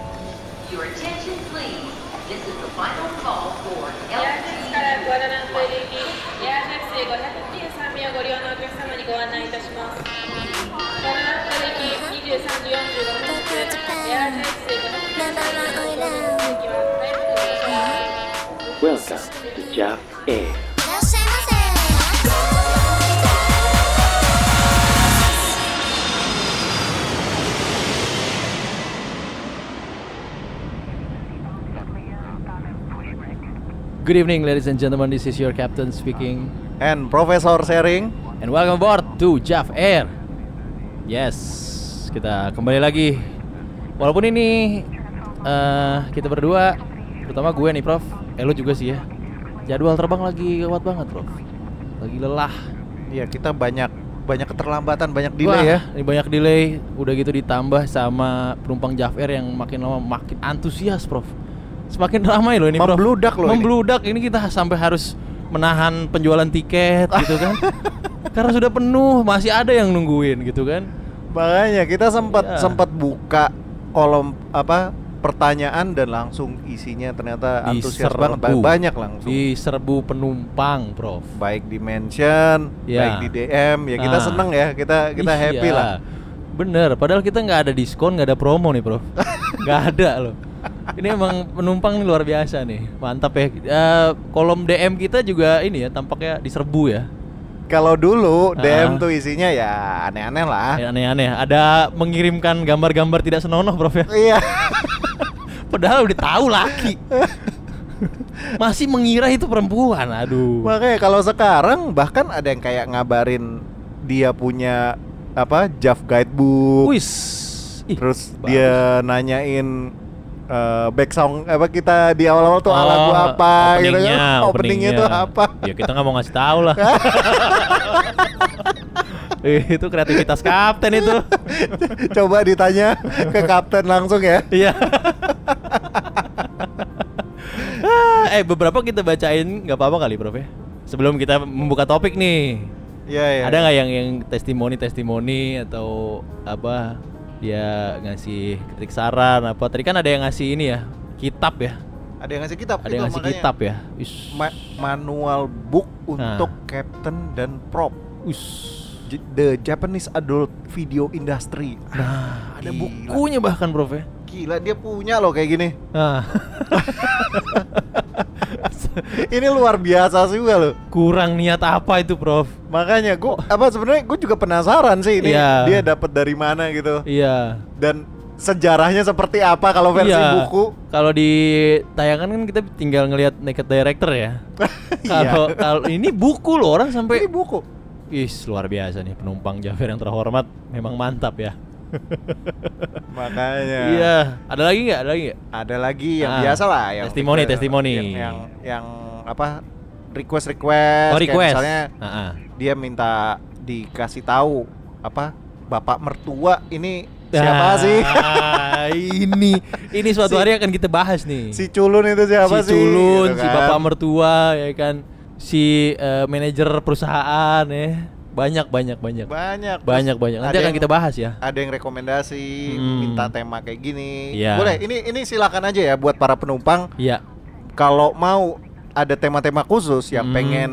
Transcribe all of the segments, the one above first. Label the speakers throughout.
Speaker 1: uh, ご利用のお客様にご案内いたします。ご覧の駅23時45分発、エアースイ500
Speaker 2: Welcome
Speaker 1: 席は大変ございます。
Speaker 3: Welcome to Jap
Speaker 2: い
Speaker 3: Air.
Speaker 2: らっしゃいませ。
Speaker 4: Good evening, ladies and gentlemen. This is your captain speaking,
Speaker 5: and Professor Sharing.
Speaker 4: and welcome aboard to Jav Air. Yes, kita kembali lagi. Walaupun ini eh kita berdua, terutama gue nih, Prof. Eh, lu juga sih ya. Jadwal terbang lagi kuat banget, Prof. Lagi lelah.
Speaker 5: Iya, kita banyak banyak keterlambatan, banyak delay
Speaker 4: Wah,
Speaker 5: ya.
Speaker 4: Ini banyak delay. Udah gitu ditambah sama penumpang Jav Air yang makin lama makin antusias, Prof. Semakin ramai loh ini, Prof.
Speaker 5: Membludak loh ini.
Speaker 4: Membludak ini. kita sampai harus menahan penjualan tiket gitu kan. Karena sudah penuh, masih ada yang nungguin gitu kan.
Speaker 5: Makanya kita sempat
Speaker 4: Iya.
Speaker 5: sempat buka kolom apa pertanyaan dan langsung isinya ternyata antusias banget, ba- banyak langsung.
Speaker 4: Di serbu penumpang, Prof.
Speaker 5: Baik di mention,
Speaker 4: Iya.
Speaker 5: baik di DM, ya kita
Speaker 4: Ah.
Speaker 5: seneng ya, kita kita
Speaker 4: Iya.
Speaker 5: happy lah.
Speaker 4: Bener, padahal kita nggak ada diskon, nggak ada promo nih, Prof. Nggak ada loh. Ini emang penumpang nih luar biasa nih, mantap ya. Eh, kolom DM kita juga ini ya, tampaknya diserbu ya.
Speaker 5: Kalau dulu
Speaker 4: Ah.
Speaker 5: DM tuh isinya ya aneh-aneh lah.
Speaker 4: Ya, Aneh-aneh. Ada mengirimkan gambar-gambar tidak senonoh, Prof ya.
Speaker 5: Iya.
Speaker 4: Padahal udah tahu laki. Masih mengira itu perempuan, aduh.
Speaker 5: Makanya kalau sekarang bahkan ada yang kayak ngabarin dia punya apa Jav Guidebook
Speaker 4: Wis. Ih,
Speaker 5: Terus
Speaker 4: bagus.
Speaker 5: dia nanyain eh back song apa kita di awal-awal tuh ala gua
Speaker 4: Oh,
Speaker 5: apa gitu kan.
Speaker 4: openingnya,
Speaker 5: Openingnya tuh apa?
Speaker 4: Ya kita nggak mau ngasih tahu lah. Eh, itu kreativitas kapten itu.
Speaker 5: Coba ditanya ke kapten langsung ya.
Speaker 4: Iya. Ah, eh beberapa kita bacain nggak apa-apa kali Prof ya. Sebelum kita membuka topik nih.
Speaker 5: Iya ya.
Speaker 4: Ada nggak yang yang testimoni-testimoni atau apa dia ngasih kritik saran apa? Tadi kan ada yang ngasih ini ya, kitab ya.
Speaker 5: Ada yang ngasih kitab
Speaker 4: Ada
Speaker 5: gitu,
Speaker 4: yang ngasih
Speaker 5: makanya.
Speaker 4: kitab ya. Ish.
Speaker 5: Ma- manual book untuk
Speaker 4: Nah.
Speaker 5: captain dan prop.
Speaker 4: Ush.
Speaker 5: J- The Japanese Adult Video Industry.
Speaker 4: Nah, ada
Speaker 5: Gila.
Speaker 4: bukunya bahkan Prof ya.
Speaker 5: Gila dia punya loh kayak gini.
Speaker 4: Nah,
Speaker 5: Ini luar biasa juga loh.
Speaker 4: kurang niat apa itu Prof?
Speaker 5: Makanya gua apa sebenarnya gua juga penasaran sih
Speaker 4: Oh.
Speaker 5: ini
Speaker 4: Iya.
Speaker 5: dia dapat dari mana gitu.
Speaker 4: Iya.
Speaker 5: Dan sejarahnya seperti apa kalau Oh, versi
Speaker 4: Iya.
Speaker 5: buku?
Speaker 4: Kalau di tayangan kan kita tinggal ngelihat naked director ya. Kalau
Speaker 5: Iya.
Speaker 4: kalau ini buku loh orang
Speaker 5: Ini
Speaker 4: sampai
Speaker 5: buku.
Speaker 4: Ih, luar biasa nih penumpang Jafar yang terhormat, memang mantap ya.
Speaker 5: Makanya.
Speaker 4: Iya, ada lagi nggak? Ada lagi nggak?
Speaker 5: Ada lagi yang
Speaker 4: Ah,
Speaker 5: biasa lah yang
Speaker 4: testimoni, testimoni.
Speaker 5: Yang, yang yang apa? Request request.
Speaker 4: Oh, request.
Speaker 5: misalnya
Speaker 4: Ah, ah.
Speaker 5: dia minta dikasih tahu apa bapak mertua ini
Speaker 4: Ah,
Speaker 5: siapa sih?
Speaker 4: ini ini suatu
Speaker 5: Si-
Speaker 4: hari akan kita bahas nih.
Speaker 5: si culun itu siapa
Speaker 4: si
Speaker 5: sih?
Speaker 4: culun,
Speaker 5: Gitu
Speaker 4: si
Speaker 5: kan.
Speaker 4: bapak mertua ya kan, si eh, manajer perusahaan ya. Banyak banyak banyak.
Speaker 5: banyak Terus
Speaker 4: Banyak banyak. Nanti
Speaker 5: ada
Speaker 4: akan
Speaker 5: yang-
Speaker 4: kita bahas ya.
Speaker 5: ada yang rekomendasi
Speaker 4: Hmm.
Speaker 5: minta tema kayak gini
Speaker 4: Iya.
Speaker 5: boleh ini ini silakan aja ya buat para penumpang
Speaker 4: Iya.
Speaker 5: kalau mau ada tema-tema khusus yang
Speaker 4: Hmm.
Speaker 5: pengen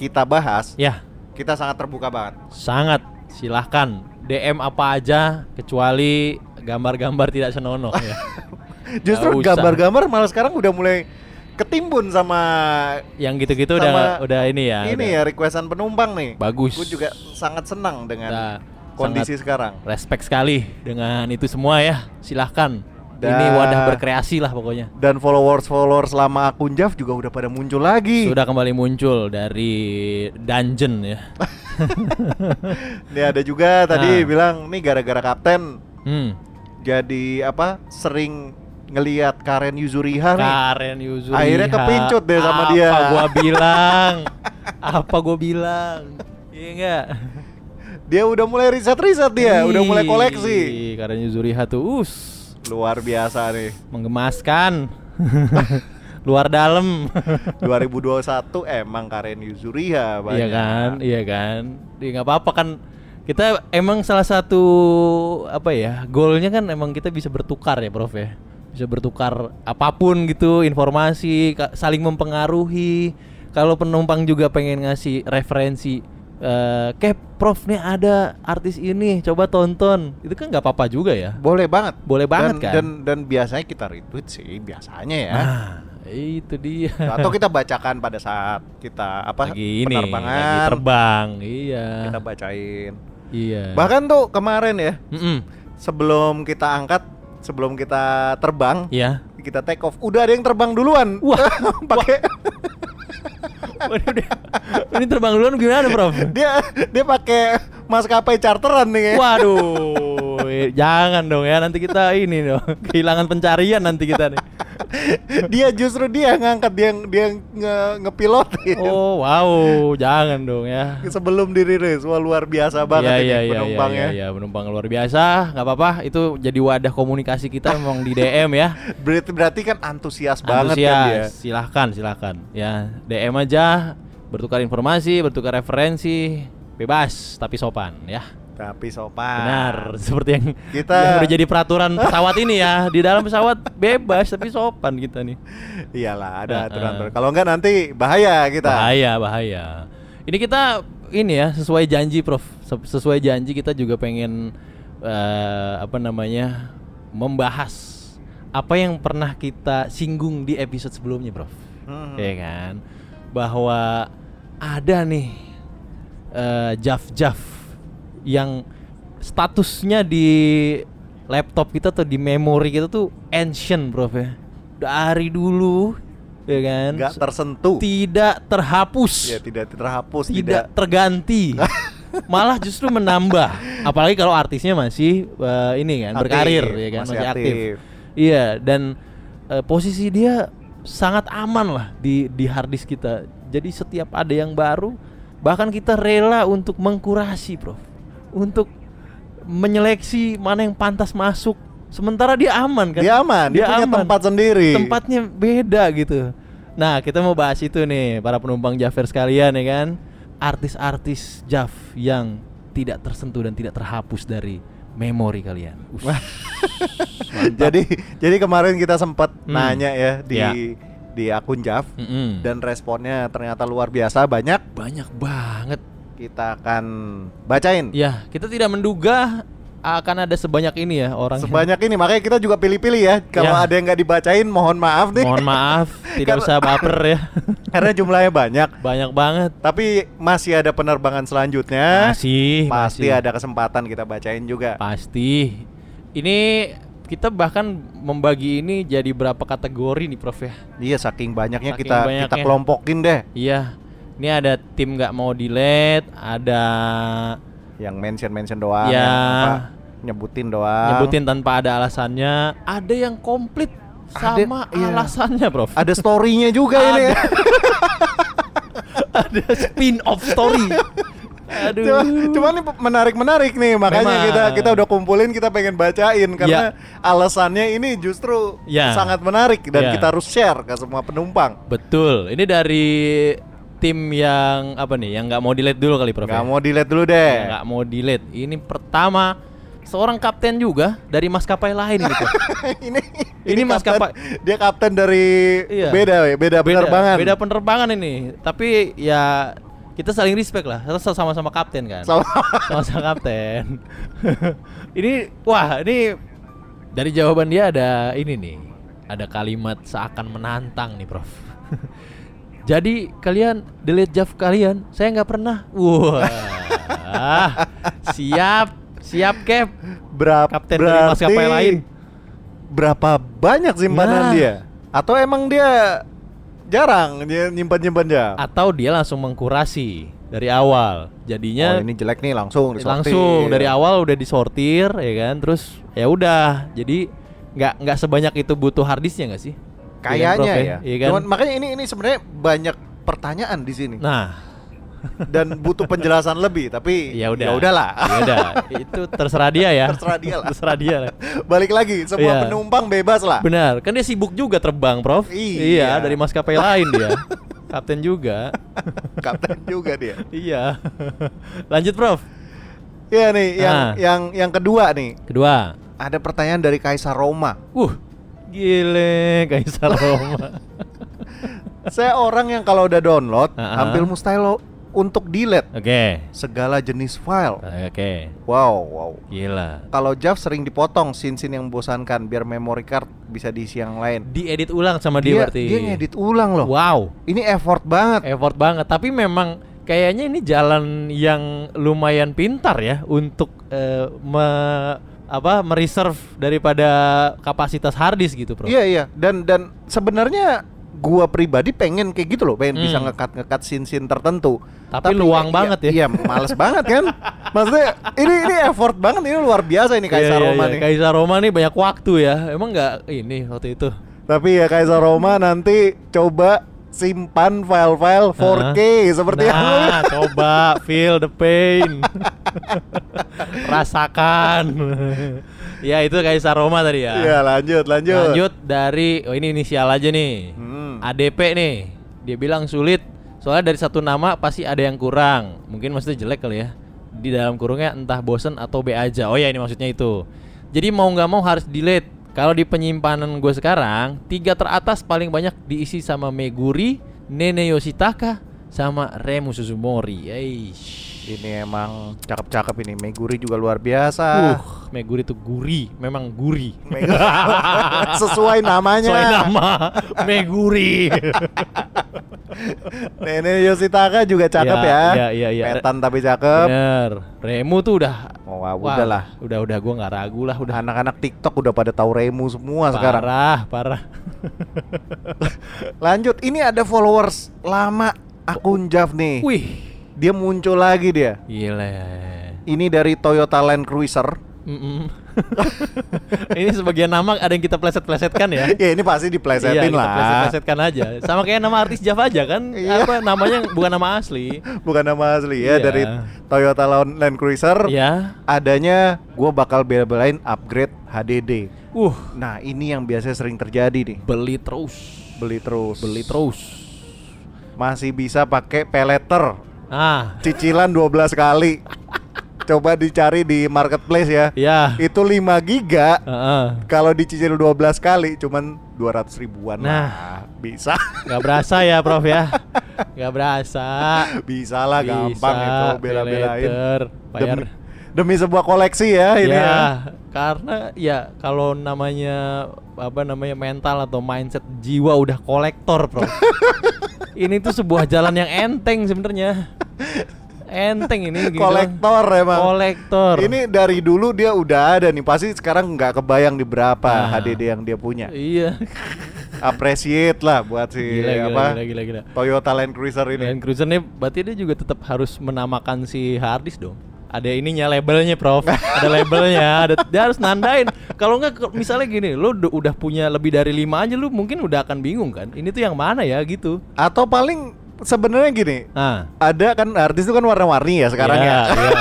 Speaker 5: kita bahas
Speaker 4: Ya,
Speaker 5: kita sangat terbuka banget
Speaker 4: sangat silahkan DM apa aja kecuali gambar-gambar tidak senonoh ya. Nggak
Speaker 5: Justru
Speaker 4: usah.
Speaker 5: gambar-gambar malah sekarang udah mulai ketimbun sama
Speaker 4: Yang Ya, gitu-gitu
Speaker 5: Sama
Speaker 4: udah udah ini ya. udah
Speaker 5: ini ya requestan penumpang nih.
Speaker 4: Bagus.
Speaker 5: Gue juga sangat senang dengan
Speaker 4: Kita
Speaker 5: kondisi sekarang.
Speaker 4: Respect sekali dengan itu semua ya. Silahkan. Ini
Speaker 5: Dah.
Speaker 4: wadah berkreasi lah pokoknya.
Speaker 5: Dan followers-followers lama akun Jav juga udah pada muncul lagi.
Speaker 4: Sudah kembali muncul dari dungeon ya.
Speaker 5: Nih ada juga
Speaker 4: Nah.
Speaker 5: tadi bilang nih gara-gara kapten
Speaker 4: Hmm.
Speaker 5: jadi apa sering ngelihat Karen Yuzuriha nih.
Speaker 4: Karen Yuzuriha.
Speaker 5: Akhirnya kepincut deh sama
Speaker 4: Apa
Speaker 5: dia.
Speaker 4: gua bilang? Apa gua bilang? Iya enggak?
Speaker 5: Dia udah mulai riset-riset dia, udah mulai koleksi.
Speaker 4: Ih, Karen Yuzuriha tuh us
Speaker 5: Luar biasa nih.
Speaker 4: menggemaskan. Luar dalam.
Speaker 5: 2021 emang Karen Yuzuriha banyak.
Speaker 4: Iya kan? Iya kan? Dia nggak apa-apa kan kita emang salah satu apa ya? Goalnya kan emang kita bisa bertukar ya, Prof ya. Bisa bertukar apapun gitu, informasi, ka- saling mempengaruhi. Kalau penumpang juga pengen ngasih referensi eh eh Kep, Prof nih ada artis ini, coba tonton. Itu kan nggak apa-apa juga ya.
Speaker 5: Boleh banget.
Speaker 4: Boleh banget,
Speaker 5: dan,
Speaker 4: kan?
Speaker 5: Dan dan biasanya kita retweet sih biasanya ya.
Speaker 4: Nah, itu dia.
Speaker 5: Atau kita bacakan pada saat kita apa
Speaker 4: lagi ini,
Speaker 5: penerbangan
Speaker 4: lagi terbang, iya.
Speaker 5: kita bacain.
Speaker 4: Iya.
Speaker 5: Bahkan tuh kemarin ya
Speaker 4: Mm-mm.
Speaker 5: sebelum kita angkat, sebelum kita terbang,
Speaker 4: Iya.
Speaker 5: kita take off. Udah ada yang terbang duluan.
Speaker 4: Wah,
Speaker 5: pakai
Speaker 4: Waduh, dia- ini terbang duluan gimana, Prof?
Speaker 5: dia dia pakai maskapai charteran nih. Ya.
Speaker 4: Waduh, eh, jangan dong ya nanti kita ini dong kehilangan pencarian nanti kita nih.
Speaker 5: dia justru dia yang ngangkat dia yang dia yang nge ngepilotin.
Speaker 4: Oh wow, jangan dong ya.
Speaker 5: Sebelum dirilis, wah luar biasa banget ini ya. penumpangnya.
Speaker 4: Iya, iya, penumpang luar biasa, nggak apa-apa. Itu jadi wadah komunikasi kita memang di DM ya.
Speaker 5: Berarti berarti kan antusias, banget kan
Speaker 4: Antusias,
Speaker 5: dia.
Speaker 4: silahkan, silahkan. Ya DM aja, bertukar informasi, bertukar referensi, bebas tapi sopan ya.
Speaker 5: Tapi sopan.
Speaker 4: Benar, seperti yang
Speaker 5: Kita-
Speaker 4: yang udah jadi peraturan pesawat ini ya. Di dalam pesawat bebas tapi sopan kita nih.
Speaker 5: Iyalah, ada
Speaker 4: Heeh.
Speaker 5: aturan. aturan. Kalau enggak nanti bahaya kita.
Speaker 4: Bahaya, bahaya. Ini kita ini ya sesuai janji, Prof. Se- Sesuai janji kita juga pengen eh, apa namanya membahas apa yang pernah kita singgung di episode sebelumnya, Prof.
Speaker 5: Hmm.
Speaker 4: Ya kan, bahwa ada nih eh, jaf-jaf yang statusnya di laptop kita atau di memori kita tuh ancient, Prof ya. Dari dulu, ya kan.
Speaker 5: Enggak tersentuh.
Speaker 4: tidak terhapus,
Speaker 5: Ya tidak terhapus,
Speaker 4: tidak terganti, malah justru menambah. Apalagi kalau artisnya masih eh, ini kan
Speaker 5: Aktif,
Speaker 4: berkarir, ya kan
Speaker 5: masih
Speaker 4: masih, aktif.
Speaker 5: aktif.
Speaker 4: Iya dan eh, posisi dia sangat aman lah di di harddisk kita. Jadi setiap ada yang baru, bahkan kita rela untuk mengkurasi, Prof. Untuk menyeleksi mana yang pantas masuk. Sementara dia aman kan?
Speaker 5: Dia aman, dia punya tempat sendiri.
Speaker 4: Tempatnya beda gitu. Nah, kita mau bahas itu nih para penumpang Jaffer sekalian ya kan. Artis-artis Jaf yang tidak tersentuh dan tidak terhapus dari memori kalian. Ush.
Speaker 5: jadi jadi kemarin kita sempat
Speaker 4: Hmm.
Speaker 5: nanya ya di
Speaker 4: Ya. Hmm.
Speaker 5: di akun Jaf
Speaker 4: Mm-mm.
Speaker 5: dan responnya ternyata luar biasa banyak.
Speaker 4: banyak banget.
Speaker 5: Kita akan bacain.
Speaker 4: Ya, kita tidak menduga akan ada sebanyak ini ya orang. yang-
Speaker 5: Sebanyak ini makanya kita juga pilih-pilih ya. Kalau
Speaker 4: Ya.
Speaker 5: ada yang nggak dibacain mohon maaf nih.
Speaker 4: Mohon maaf, tidak
Speaker 5: Karena-
Speaker 4: usah baper ya.
Speaker 5: Karena jumlahnya banyak.
Speaker 4: Banyak banget.
Speaker 5: Tapi masih ada penerbangan selanjutnya.
Speaker 4: Masih,
Speaker 5: Eh? Pasti
Speaker 4: masih.
Speaker 5: ada kesempatan kita bacain juga.
Speaker 4: Pasti. Ini kita bahkan membagi ini jadi berapa kategori nih, Prof ya?
Speaker 5: Iya saking banyaknya
Speaker 4: Saking
Speaker 5: kita kita
Speaker 4: banyaknya.
Speaker 5: kelompokin deh.
Speaker 4: Iya, ini ada tim nggak mau delete, ada
Speaker 5: Yang mention-mention doang,
Speaker 4: Ya.
Speaker 5: yang apa, nyebutin doang.
Speaker 4: nyebutin tanpa ada alasannya, ada yang komplit
Speaker 5: Ada-
Speaker 4: sama
Speaker 5: iya.
Speaker 4: alasannya, Prof.
Speaker 5: Ada story-nya juga ini. ya.
Speaker 4: ada spin off story. Aduh.
Speaker 5: Cuma, cuman ini menarik-menarik nih makanya
Speaker 4: Memang.
Speaker 5: kita kita udah kumpulin kita pengen bacain karena
Speaker 4: Ya.
Speaker 5: alasannya ini justru
Speaker 4: Ya.
Speaker 5: sangat menarik
Speaker 4: Ya.
Speaker 5: dan kita harus share ke semua penumpang.
Speaker 4: Betul. Ini dari tim yang apa nih? Yang nggak mau delete dulu kali, Prof.
Speaker 5: Gak
Speaker 4: ya?
Speaker 5: mau dilihat dulu deh.
Speaker 4: Yang nggak mau delete. Ini pertama seorang kapten juga dari maskapai lain gitu. ini, Prof. Ini
Speaker 5: ini
Speaker 4: Mas
Speaker 5: kapten-
Speaker 4: Kapai.
Speaker 5: Dia kapten dari
Speaker 4: Iya.
Speaker 5: beda ya, beda penerbangan.
Speaker 4: Beda penerbangan ini. Tapi ya kita saling respect lah. Kita sama-sama kapten kan.
Speaker 5: Sama-
Speaker 4: Sama-sama kapten. ini wah, ini dari jawaban dia ada ini nih. Ada kalimat seakan menantang nih, Prof. Jadi kalian delete Jav kalian, saya nggak pernah. Wah. siap, siap Cap.
Speaker 5: Berapa
Speaker 4: Kapten dari maskapai lain.
Speaker 5: Berapa banyak
Speaker 4: Nah.
Speaker 5: simpanan dia? Atau emang dia jarang dia nyimpan-nyimpan ya?
Speaker 4: Atau dia langsung mengkurasi dari awal. Jadinya
Speaker 5: Oh, ini jelek nih langsung disortir.
Speaker 4: Ya, langsung dari awal udah disortir ya kan terus ya udah jadi nggak nggak sebanyak itu butuh harddisknya nggak sih Iya kan,
Speaker 5: Kayaknya
Speaker 4: Prof,
Speaker 5: ya.
Speaker 4: Iya kan?
Speaker 5: Cuman makanya ini ini sebenarnya banyak pertanyaan di sini
Speaker 4: nah
Speaker 5: dan butuh penjelasan lebih tapi
Speaker 4: ya udah
Speaker 5: ya udahlah.
Speaker 4: ya udah itu terserah dia ya
Speaker 5: Terserah dia lah.
Speaker 4: terserah dia lah.
Speaker 5: Balik lagi semua
Speaker 4: Iya.
Speaker 5: penumpang bebas lah.
Speaker 4: benar kan dia sibuk juga terbang prof
Speaker 5: Iya.
Speaker 4: dari maskapai lain dia kapten juga
Speaker 5: Kapten juga dia.
Speaker 4: iya lanjut prof
Speaker 5: Iya nih yang
Speaker 4: Nah.
Speaker 5: yang yang kedua nih
Speaker 4: kedua
Speaker 5: ada pertanyaan dari Kaisar Roma.
Speaker 4: uh gile kaisar Roma
Speaker 5: Saya orang yang kalau udah download
Speaker 4: Ah.
Speaker 5: hampir mustahil lo- untuk delete
Speaker 4: Oke.
Speaker 5: segala jenis file.
Speaker 4: Oke.
Speaker 5: Wow, wow.
Speaker 4: Gila.
Speaker 5: Kalau Jav sering dipotong scene-scene yang membosankan biar memory card bisa diisi yang lain.
Speaker 4: Diedit ulang sama dia,
Speaker 5: Dia
Speaker 4: berarti.
Speaker 5: dia ngedit ulang loh.
Speaker 4: Wow.
Speaker 5: Ini effort banget.
Speaker 4: effort banget tapi memang kayaknya ini jalan yang lumayan pintar ya untuk eh, me- apa mereserve daripada kapasitas harddisk gitu bro
Speaker 5: Iya iya dan dan sebenarnya gua pribadi pengen kayak gitu loh, pengen
Speaker 4: Hmm.
Speaker 5: bisa ngekat ngekat sin sin tertentu.
Speaker 4: Tapi luang
Speaker 5: iya-
Speaker 4: banget ya.
Speaker 5: Iya, males banget kan. Maksudnya ini ini effort banget, ini luar biasa ini
Speaker 4: Iya,
Speaker 5: Kaisar ya.
Speaker 4: iya,
Speaker 5: Roma
Speaker 4: iya.
Speaker 5: nih.
Speaker 4: Kaisar Roma nih banyak waktu ya emang nggak ini waktu itu
Speaker 5: Tapi ya Kaisar
Speaker 4: Hmm.
Speaker 5: Roma nanti coba simpan file-file 4K seperti yang lu-
Speaker 4: nah, coba feel the pain rasakan ya itu Kaisar Roma tadi ya
Speaker 5: Iya, lanjut lanjut.
Speaker 4: Lanjut dari oh ini inisial aja nih.
Speaker 5: Hmm.
Speaker 4: ADP nih. Dia bilang sulit soalnya dari satu nama pasti ada yang kurang. Mungkin maksudnya jelek kali ya. Di dalam kurungnya entah bosen atau B aja. Oh ya ini maksudnya itu. Jadi mau nggak mau harus delete. Kalau di penyimpanan gue sekarang tiga teratas paling banyak diisi sama Meguri, Nene Yoshitaka, sama Remu Suzumori. Eish.
Speaker 5: Ini emang cakep-cakep ini. Meguri juga luar biasa.
Speaker 4: Uh, Meguri tuh gurih, memang gurih.
Speaker 5: Meguri- Sesuai namanya.
Speaker 4: Soalnya nama Meguri.
Speaker 5: Nenek Yoshitaka juga cakep
Speaker 4: Iya,
Speaker 5: ya.
Speaker 4: iya, iya, iya.
Speaker 5: Petan tapi cakep.
Speaker 4: Bener. Remu tuh udah
Speaker 5: Oh, wah,
Speaker 4: Wah,
Speaker 5: udahlah.
Speaker 4: Udah udah gua nggak ragu lah udah.
Speaker 5: Anak-anak TikTok udah pada tahu Remu semua sekarang.
Speaker 4: Parah, parah.
Speaker 5: Lanjut, ini ada followers lama akun Jav nih.
Speaker 4: Wih,
Speaker 5: Dia muncul lagi dia.
Speaker 4: gila.
Speaker 5: Ini dari Toyota Land Cruiser.
Speaker 4: Mm-mm. Ini sebagian nama ada yang kita pleset-plesetkan ya. Iya,
Speaker 5: ya ini pasti
Speaker 4: kita
Speaker 5: diplesetin lah.
Speaker 4: Pleset-plesetkan aja. Sama kayak nama artis Jav aja kan.
Speaker 5: Iya.
Speaker 4: Apa namanya bukan nama asli.
Speaker 5: Bukan nama asli
Speaker 4: Iya.
Speaker 5: ya dari Toyota Land Land Cruiser.
Speaker 4: Ya.
Speaker 5: Adanya gua bakal bela-belain upgrade HDD.
Speaker 4: Uh,
Speaker 5: Nah, ini yang biasanya sering terjadi nih.
Speaker 4: beli terus.
Speaker 5: Beli terus.
Speaker 4: Beli terus.
Speaker 5: Masih bisa pakai peleter.
Speaker 4: Ah,
Speaker 5: Cicilan 12 kali. Coba dicari di marketplace ya.
Speaker 4: ya.
Speaker 5: Itu 5 giga
Speaker 4: Heeh.
Speaker 5: Kalau dicicil 12 kali cuman 200 ribuan
Speaker 4: Nah.
Speaker 5: lah. Bisa
Speaker 4: Gak berasa ya, Prof ya. Gak berasa.
Speaker 5: Bisa lah gampang
Speaker 4: Bisa,
Speaker 5: itu bela-belain
Speaker 4: peleter, bayar.
Speaker 5: demi, demi sebuah koleksi ya ini
Speaker 4: ya,
Speaker 5: ya.
Speaker 4: karena ya kalau namanya apa namanya mental atau mindset jiwa udah kolektor, Bro. ini tuh sebuah jalan yang enteng sebenarnya. Enteng ini gitu.
Speaker 5: Kolektor emang
Speaker 4: Kolektor.
Speaker 5: Ini dari dulu dia udah ada nih Pasti sekarang nggak kebayang di berapa
Speaker 4: Ah.
Speaker 5: HDD yang dia punya
Speaker 4: Iya.
Speaker 5: Appreciate lah buat si
Speaker 4: Gila, gila,
Speaker 5: apa
Speaker 4: gila, gila, gila.
Speaker 5: Toyota Land Cruiser ini
Speaker 4: Land Cruiser nih berarti dia juga tetap harus menamakan si harddisk dong. Ada ininya labelnya, Prof. ada labelnya, ada dia harus nandain. Kalau enggak ke- misalnya gini, lu du- udah punya lebih dari lima aja lu mungkin udah akan bingung kan. Ini tuh yang mana ya gitu.
Speaker 5: Atau paling sebenarnya gini
Speaker 4: Nah,
Speaker 5: ada kan artis itu kan warna-warni ya sekarang
Speaker 4: Iya,
Speaker 5: ya.
Speaker 4: iya.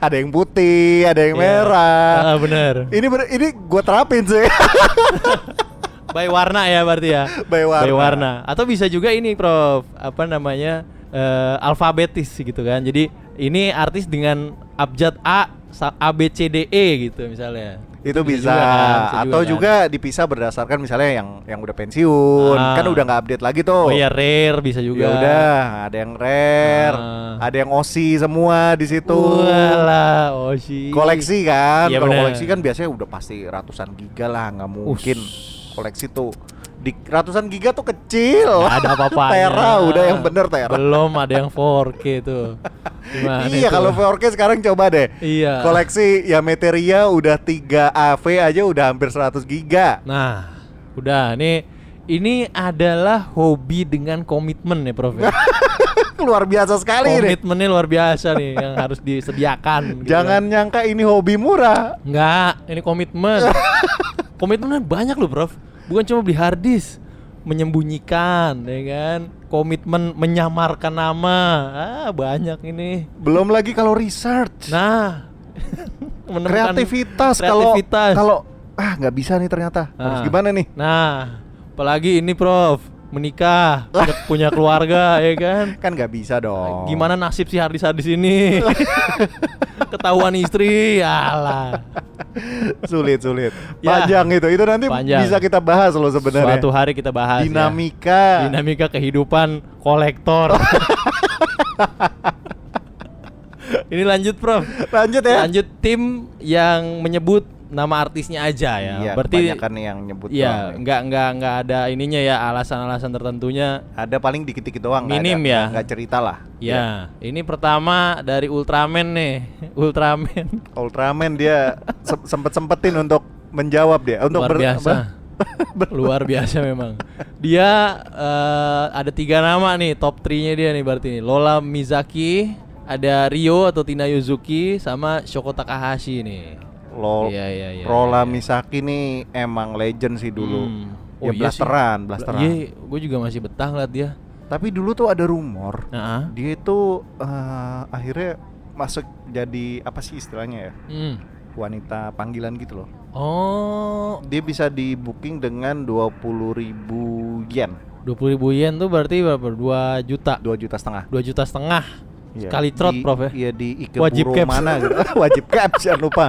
Speaker 5: ada yang putih, ada yang
Speaker 4: Iya.
Speaker 5: merah.
Speaker 4: Ah, bener.
Speaker 5: Ini bener, ini gue terapin sih.
Speaker 4: By warna ya berarti ya.
Speaker 5: By warna.
Speaker 4: Atau bisa juga ini, Prof. Apa namanya? eh, alfabetis gitu kan. Jadi ini artis dengan abjad A, sa- A B C D E gitu misalnya.
Speaker 5: itu bisa,
Speaker 4: kan, bisa
Speaker 5: atau
Speaker 4: kan.
Speaker 5: juga, dipisah berdasarkan misalnya yang yang udah pensiun,
Speaker 4: Ah.
Speaker 5: kan udah nggak update lagi tuh.
Speaker 4: Oh iya rare bisa
Speaker 5: Ya
Speaker 4: juga.
Speaker 5: udah, ada yang rare,
Speaker 4: Ah.
Speaker 5: ada yang osi semua di situ.
Speaker 4: Walah, Oshi.
Speaker 5: Koleksi kan,
Speaker 4: Iya,
Speaker 5: kalau
Speaker 4: bener.
Speaker 5: koleksi kan biasanya udah pasti ratusan giga lah, nggak mungkin
Speaker 4: Ush.
Speaker 5: koleksi tuh di ratusan giga tuh kecil.
Speaker 4: Nggak ada apa-apa. ya.
Speaker 5: Tera udah yang bener tera.
Speaker 4: Belum ada yang 4K tuh. Gimana
Speaker 5: iya
Speaker 4: itu?
Speaker 5: kalau 4K sekarang coba deh.
Speaker 4: Iya.
Speaker 5: Koleksi ya Meteria udah 3 AV aja udah hampir 100 giga.
Speaker 4: Nah, udah nih ini adalah hobi dengan komitmen ya Prof ya.
Speaker 5: Luar biasa sekali ini.
Speaker 4: Komitmennya luar biasa nih yang harus disediakan gitu
Speaker 5: Jangan
Speaker 4: kan.
Speaker 5: nyangka ini hobi murah.
Speaker 4: Enggak, ini komitmen Komitmennya banyak loh Prof Bukan cuma beli harddisk Menyembunyikan, ya kan Komitmen menyamarkan nama Ah, banyak ini
Speaker 5: Belum lagi kalau research.
Speaker 4: Nah, menemukan
Speaker 5: kreativitas kalau
Speaker 4: kreativitas.
Speaker 5: kalau ah nggak bisa nih ternyata. Harus
Speaker 4: Nah.
Speaker 5: gimana nih?
Speaker 4: Nah, apalagi ini Prof, menikah, punya, punya keluarga ya kan.
Speaker 5: Kan nggak bisa dong.
Speaker 4: Gimana nasib si Hardis Hardis ini? Ketahuan istri, alah.
Speaker 5: sulit sulit
Speaker 4: Ya.
Speaker 5: panjang itu itu nanti
Speaker 4: Panjang.
Speaker 5: bisa kita bahas loh sebenarnya
Speaker 4: Suatu hari kita bahas ya.
Speaker 5: dinamika
Speaker 4: dinamika kehidupan kolektor. Ini lanjut, Prof.
Speaker 5: lanjut ya
Speaker 4: Lanjut tim yang menyebut nama artisnya aja ya.
Speaker 5: iya
Speaker 4: Berarti
Speaker 5: kebanyakan yang nyebut
Speaker 4: ya
Speaker 5: doang nih.
Speaker 4: nggak nggak nggak ada ininya ya alasan-alasan tertentunya.
Speaker 5: ada paling dikit-dikit doang nggak
Speaker 4: Minim
Speaker 5: ada-
Speaker 4: ya.
Speaker 5: nggak cerita lah
Speaker 4: Ya,
Speaker 5: Iya.
Speaker 4: ini pertama dari Ultraman nih. Ultraman
Speaker 5: Ultraman dia sempet sempetin untuk menjawab dia untuk
Speaker 4: luar
Speaker 5: ber-
Speaker 4: biasa.
Speaker 5: apa?
Speaker 4: luar biasa memang. Dia eh, ada tiga nama nih top 3-nya dia nih berarti nih. Lola Mizaki, ada Rio atau Tina Yuzuki sama Shoko Takahashi nih.
Speaker 5: Lo,
Speaker 4: Iya, iya, iya, iya, iya.
Speaker 5: Rola Misaki nih emang legend sih dulu.
Speaker 4: Hmm.
Speaker 5: ya blasteran, blasteran.
Speaker 4: Iya, gue juga masih betah ngeliat dia.
Speaker 5: Tapi dulu tuh ada rumor
Speaker 4: Nah,
Speaker 5: dia itu eh, akhirnya masuk jadi apa sih istilahnya ya
Speaker 4: hmm.
Speaker 5: wanita panggilan gitu loh.
Speaker 4: Oh,
Speaker 5: Dia bisa di booking dengan 20.000 yen,
Speaker 4: 20.000 yen tuh berarti berapa? 2 juta.
Speaker 5: 2 juta setengah.
Speaker 4: 2 juta setengah.
Speaker 5: Iya.
Speaker 4: Sekali trot,
Speaker 5: Di-
Speaker 4: Prof ya.
Speaker 5: Iya di Ikeburo
Speaker 4: Wajib caps.
Speaker 5: mana gitu. Wajib caps jangan lupa.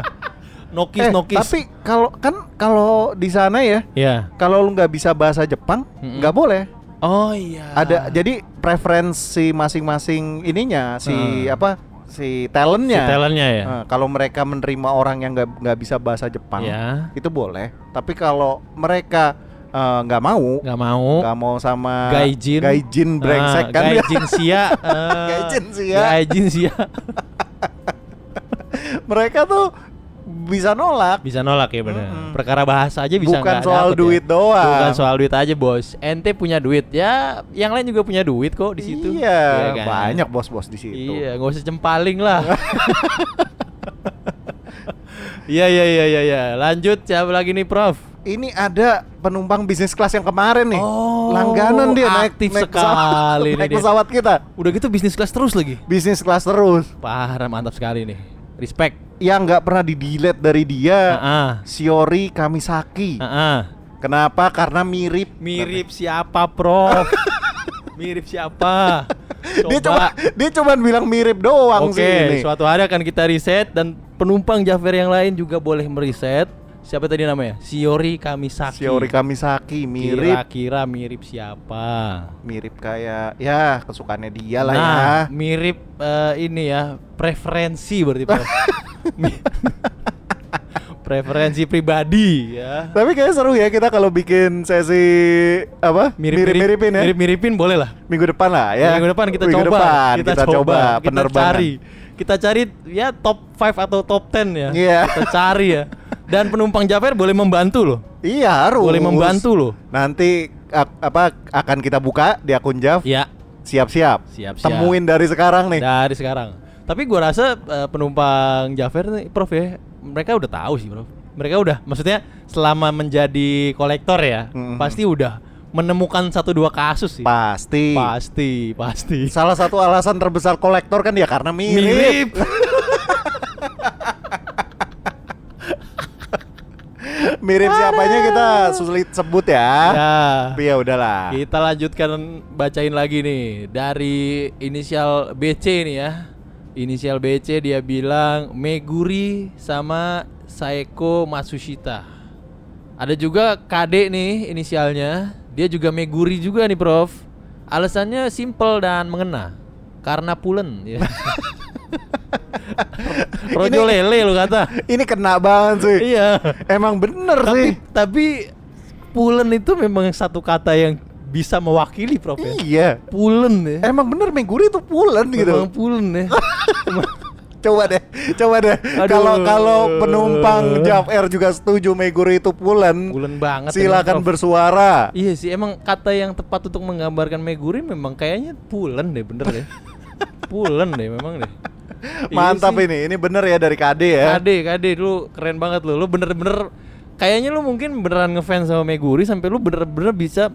Speaker 4: Nokis
Speaker 5: Eh,
Speaker 4: nokis.
Speaker 5: Tapi kalau kan kalau di sana ya
Speaker 4: ya.
Speaker 5: kalau lu nggak bisa bahasa Jepang
Speaker 4: Mm-mm.
Speaker 5: nggak boleh
Speaker 4: Oh iya.
Speaker 5: ada jadi preferensi masing-masing ininya si
Speaker 4: Hmm.
Speaker 5: apa
Speaker 4: si
Speaker 5: si talentnya
Speaker 4: talentnya ya.
Speaker 5: Eh, kalau mereka menerima orang yang nggak nggak bisa bahasa Jepang
Speaker 4: Ya.
Speaker 5: itu boleh tapi kalau mereka eh, nggak mau
Speaker 4: Gak mau.
Speaker 5: nggak mau sama
Speaker 4: Gaijin.
Speaker 5: Ah, gaijin brengsek
Speaker 4: Ah,
Speaker 5: kan dia.
Speaker 4: Gaijin sia. ah.
Speaker 5: Gaijin sia.
Speaker 4: Gaijin sia.
Speaker 5: mereka tuh bisa nolak
Speaker 4: Bisa nolak ya benar.
Speaker 5: Mm-mm.
Speaker 4: Perkara bahasa aja bisa
Speaker 5: bukan
Speaker 4: nggak dapet
Speaker 5: soal
Speaker 4: ya.
Speaker 5: duit doang
Speaker 4: Bukan soal duit aja bos. Ente punya duit ya. Yang lain juga punya duit kok di situ.
Speaker 5: iya
Speaker 4: kan?
Speaker 5: banyak gitu. bos-bos di situ
Speaker 4: Iya, nggak usah cempaling lah. Iya iya iya iya iya. Lanjut siapa lagi nih Prof?
Speaker 5: Ini ada penumpang bisnis kelas yang kemarin nih.
Speaker 4: Oh,
Speaker 5: Langganan dia naik
Speaker 4: aktif
Speaker 5: naik
Speaker 4: sekali
Speaker 5: pesawat,
Speaker 4: ini
Speaker 5: naik
Speaker 4: dia.
Speaker 5: pesawat kita.
Speaker 4: Udah gitu bisnis kelas terus lagi.
Speaker 5: Bisnis kelas terus.
Speaker 4: Parah mantap sekali nih. Respect.
Speaker 5: Yang nggak pernah di delete dari dia.
Speaker 4: Ah
Speaker 5: Shiori Kamisaki.
Speaker 4: ah. ah.
Speaker 5: Kenapa? Karena mirip.
Speaker 4: Mirip siapa Prof? Mirip siapa? Coba.
Speaker 5: Dia cuma dia cuma bilang mirip doang
Speaker 4: Oke,
Speaker 5: sih ini.
Speaker 4: suatu hari akan kita riset dan penumpang Jafar yang lain juga boleh meriset. Siapa tadi namanya? Shiori Kamisaki.
Speaker 5: Shiori Kamisaki mirip
Speaker 4: Kira-kira mirip siapa?
Speaker 5: mirip kayak ya kesukaannya dia lah
Speaker 4: nah,
Speaker 5: ya.
Speaker 4: mirip eh, ini ya preferensi berarti Prof. Mi- preferensi pribadi ya.
Speaker 5: Tapi kayaknya seru ya kita kalau bikin sesi apa? Mirip-miripin ya.
Speaker 4: Mirip-miripin boleh lah.
Speaker 5: Minggu depan lah ya.
Speaker 4: Minggu depan kita
Speaker 5: Minggu
Speaker 4: coba,
Speaker 5: depan kita, coba,
Speaker 4: kita
Speaker 5: penerbangan.
Speaker 4: cari. Kita cari ya top 5 atau top 10 ya.
Speaker 5: Iya.
Speaker 4: Kita cari ya. Dan penumpang Japer boleh membantu loh.
Speaker 5: Iya harus.
Speaker 4: Boleh membantu loh.
Speaker 5: Nanti ak- apa akan kita buka di akun Jav.
Speaker 4: Ya,
Speaker 5: Siap-siap.
Speaker 4: Siap-siap.
Speaker 5: Temuin dari sekarang nih.
Speaker 4: dari sekarang. Tapi gua rasa eh, penumpang Jafer nih Prof ya, mereka udah tahu sih, Prof. Mereka udah maksudnya selama menjadi kolektor ya,
Speaker 5: Mhm.
Speaker 4: pasti udah menemukan satu dua kasus sih.
Speaker 5: Pasti.
Speaker 4: Pasti, pasti.
Speaker 5: Salah satu alasan terbesar kolektor kan ya karena mirip. Mirip siapanya kita sulit sebut ya.
Speaker 4: Ya.
Speaker 5: Tapi ya udahlah.
Speaker 4: Kita lanjutkan bacain lagi nih dari inisial BC nih ya. Inisial BC dia bilang Meguri sama Saeko Matsushita. Ada juga KD nih inisialnya. Dia juga Meguri juga nih, Prof. Alasannya simple dan mengena. Karena pulen ya. Rojo
Speaker 5: Ini-
Speaker 4: lele lo kata.
Speaker 5: Ini kena banget sih.
Speaker 4: iya.
Speaker 5: Emang bener
Speaker 4: Tapi
Speaker 5: sih.
Speaker 4: tapi pulen itu memang satu kata yang bisa mewakili Prof ya.
Speaker 5: Iya.
Speaker 4: Pulen ya.
Speaker 5: Emang bener Meguri tuh pulen gitu.
Speaker 4: Memang pulen ya.
Speaker 5: Coba deh, coba deh.
Speaker 4: Aduh.
Speaker 5: Kalau kalau penumpang Jav Air juga setuju Meguri itu pulen.
Speaker 4: Pulen banget. emang,
Speaker 5: Silakan
Speaker 4: Prof.
Speaker 5: bersuara.
Speaker 4: Iya sih, emang kata yang tepat untuk menggambarkan Meguri memang kayaknya pulen deh, bener deh. pulen deh memang deh. Iya
Speaker 5: Mantap
Speaker 4: sih.
Speaker 5: ini, ini bener ya dari KD ya.
Speaker 4: Kade, kade, lu keren banget lu. Lu bener-bener kayaknya lu mungkin beneran ngefans sama Meguri sampai lu bener-bener bisa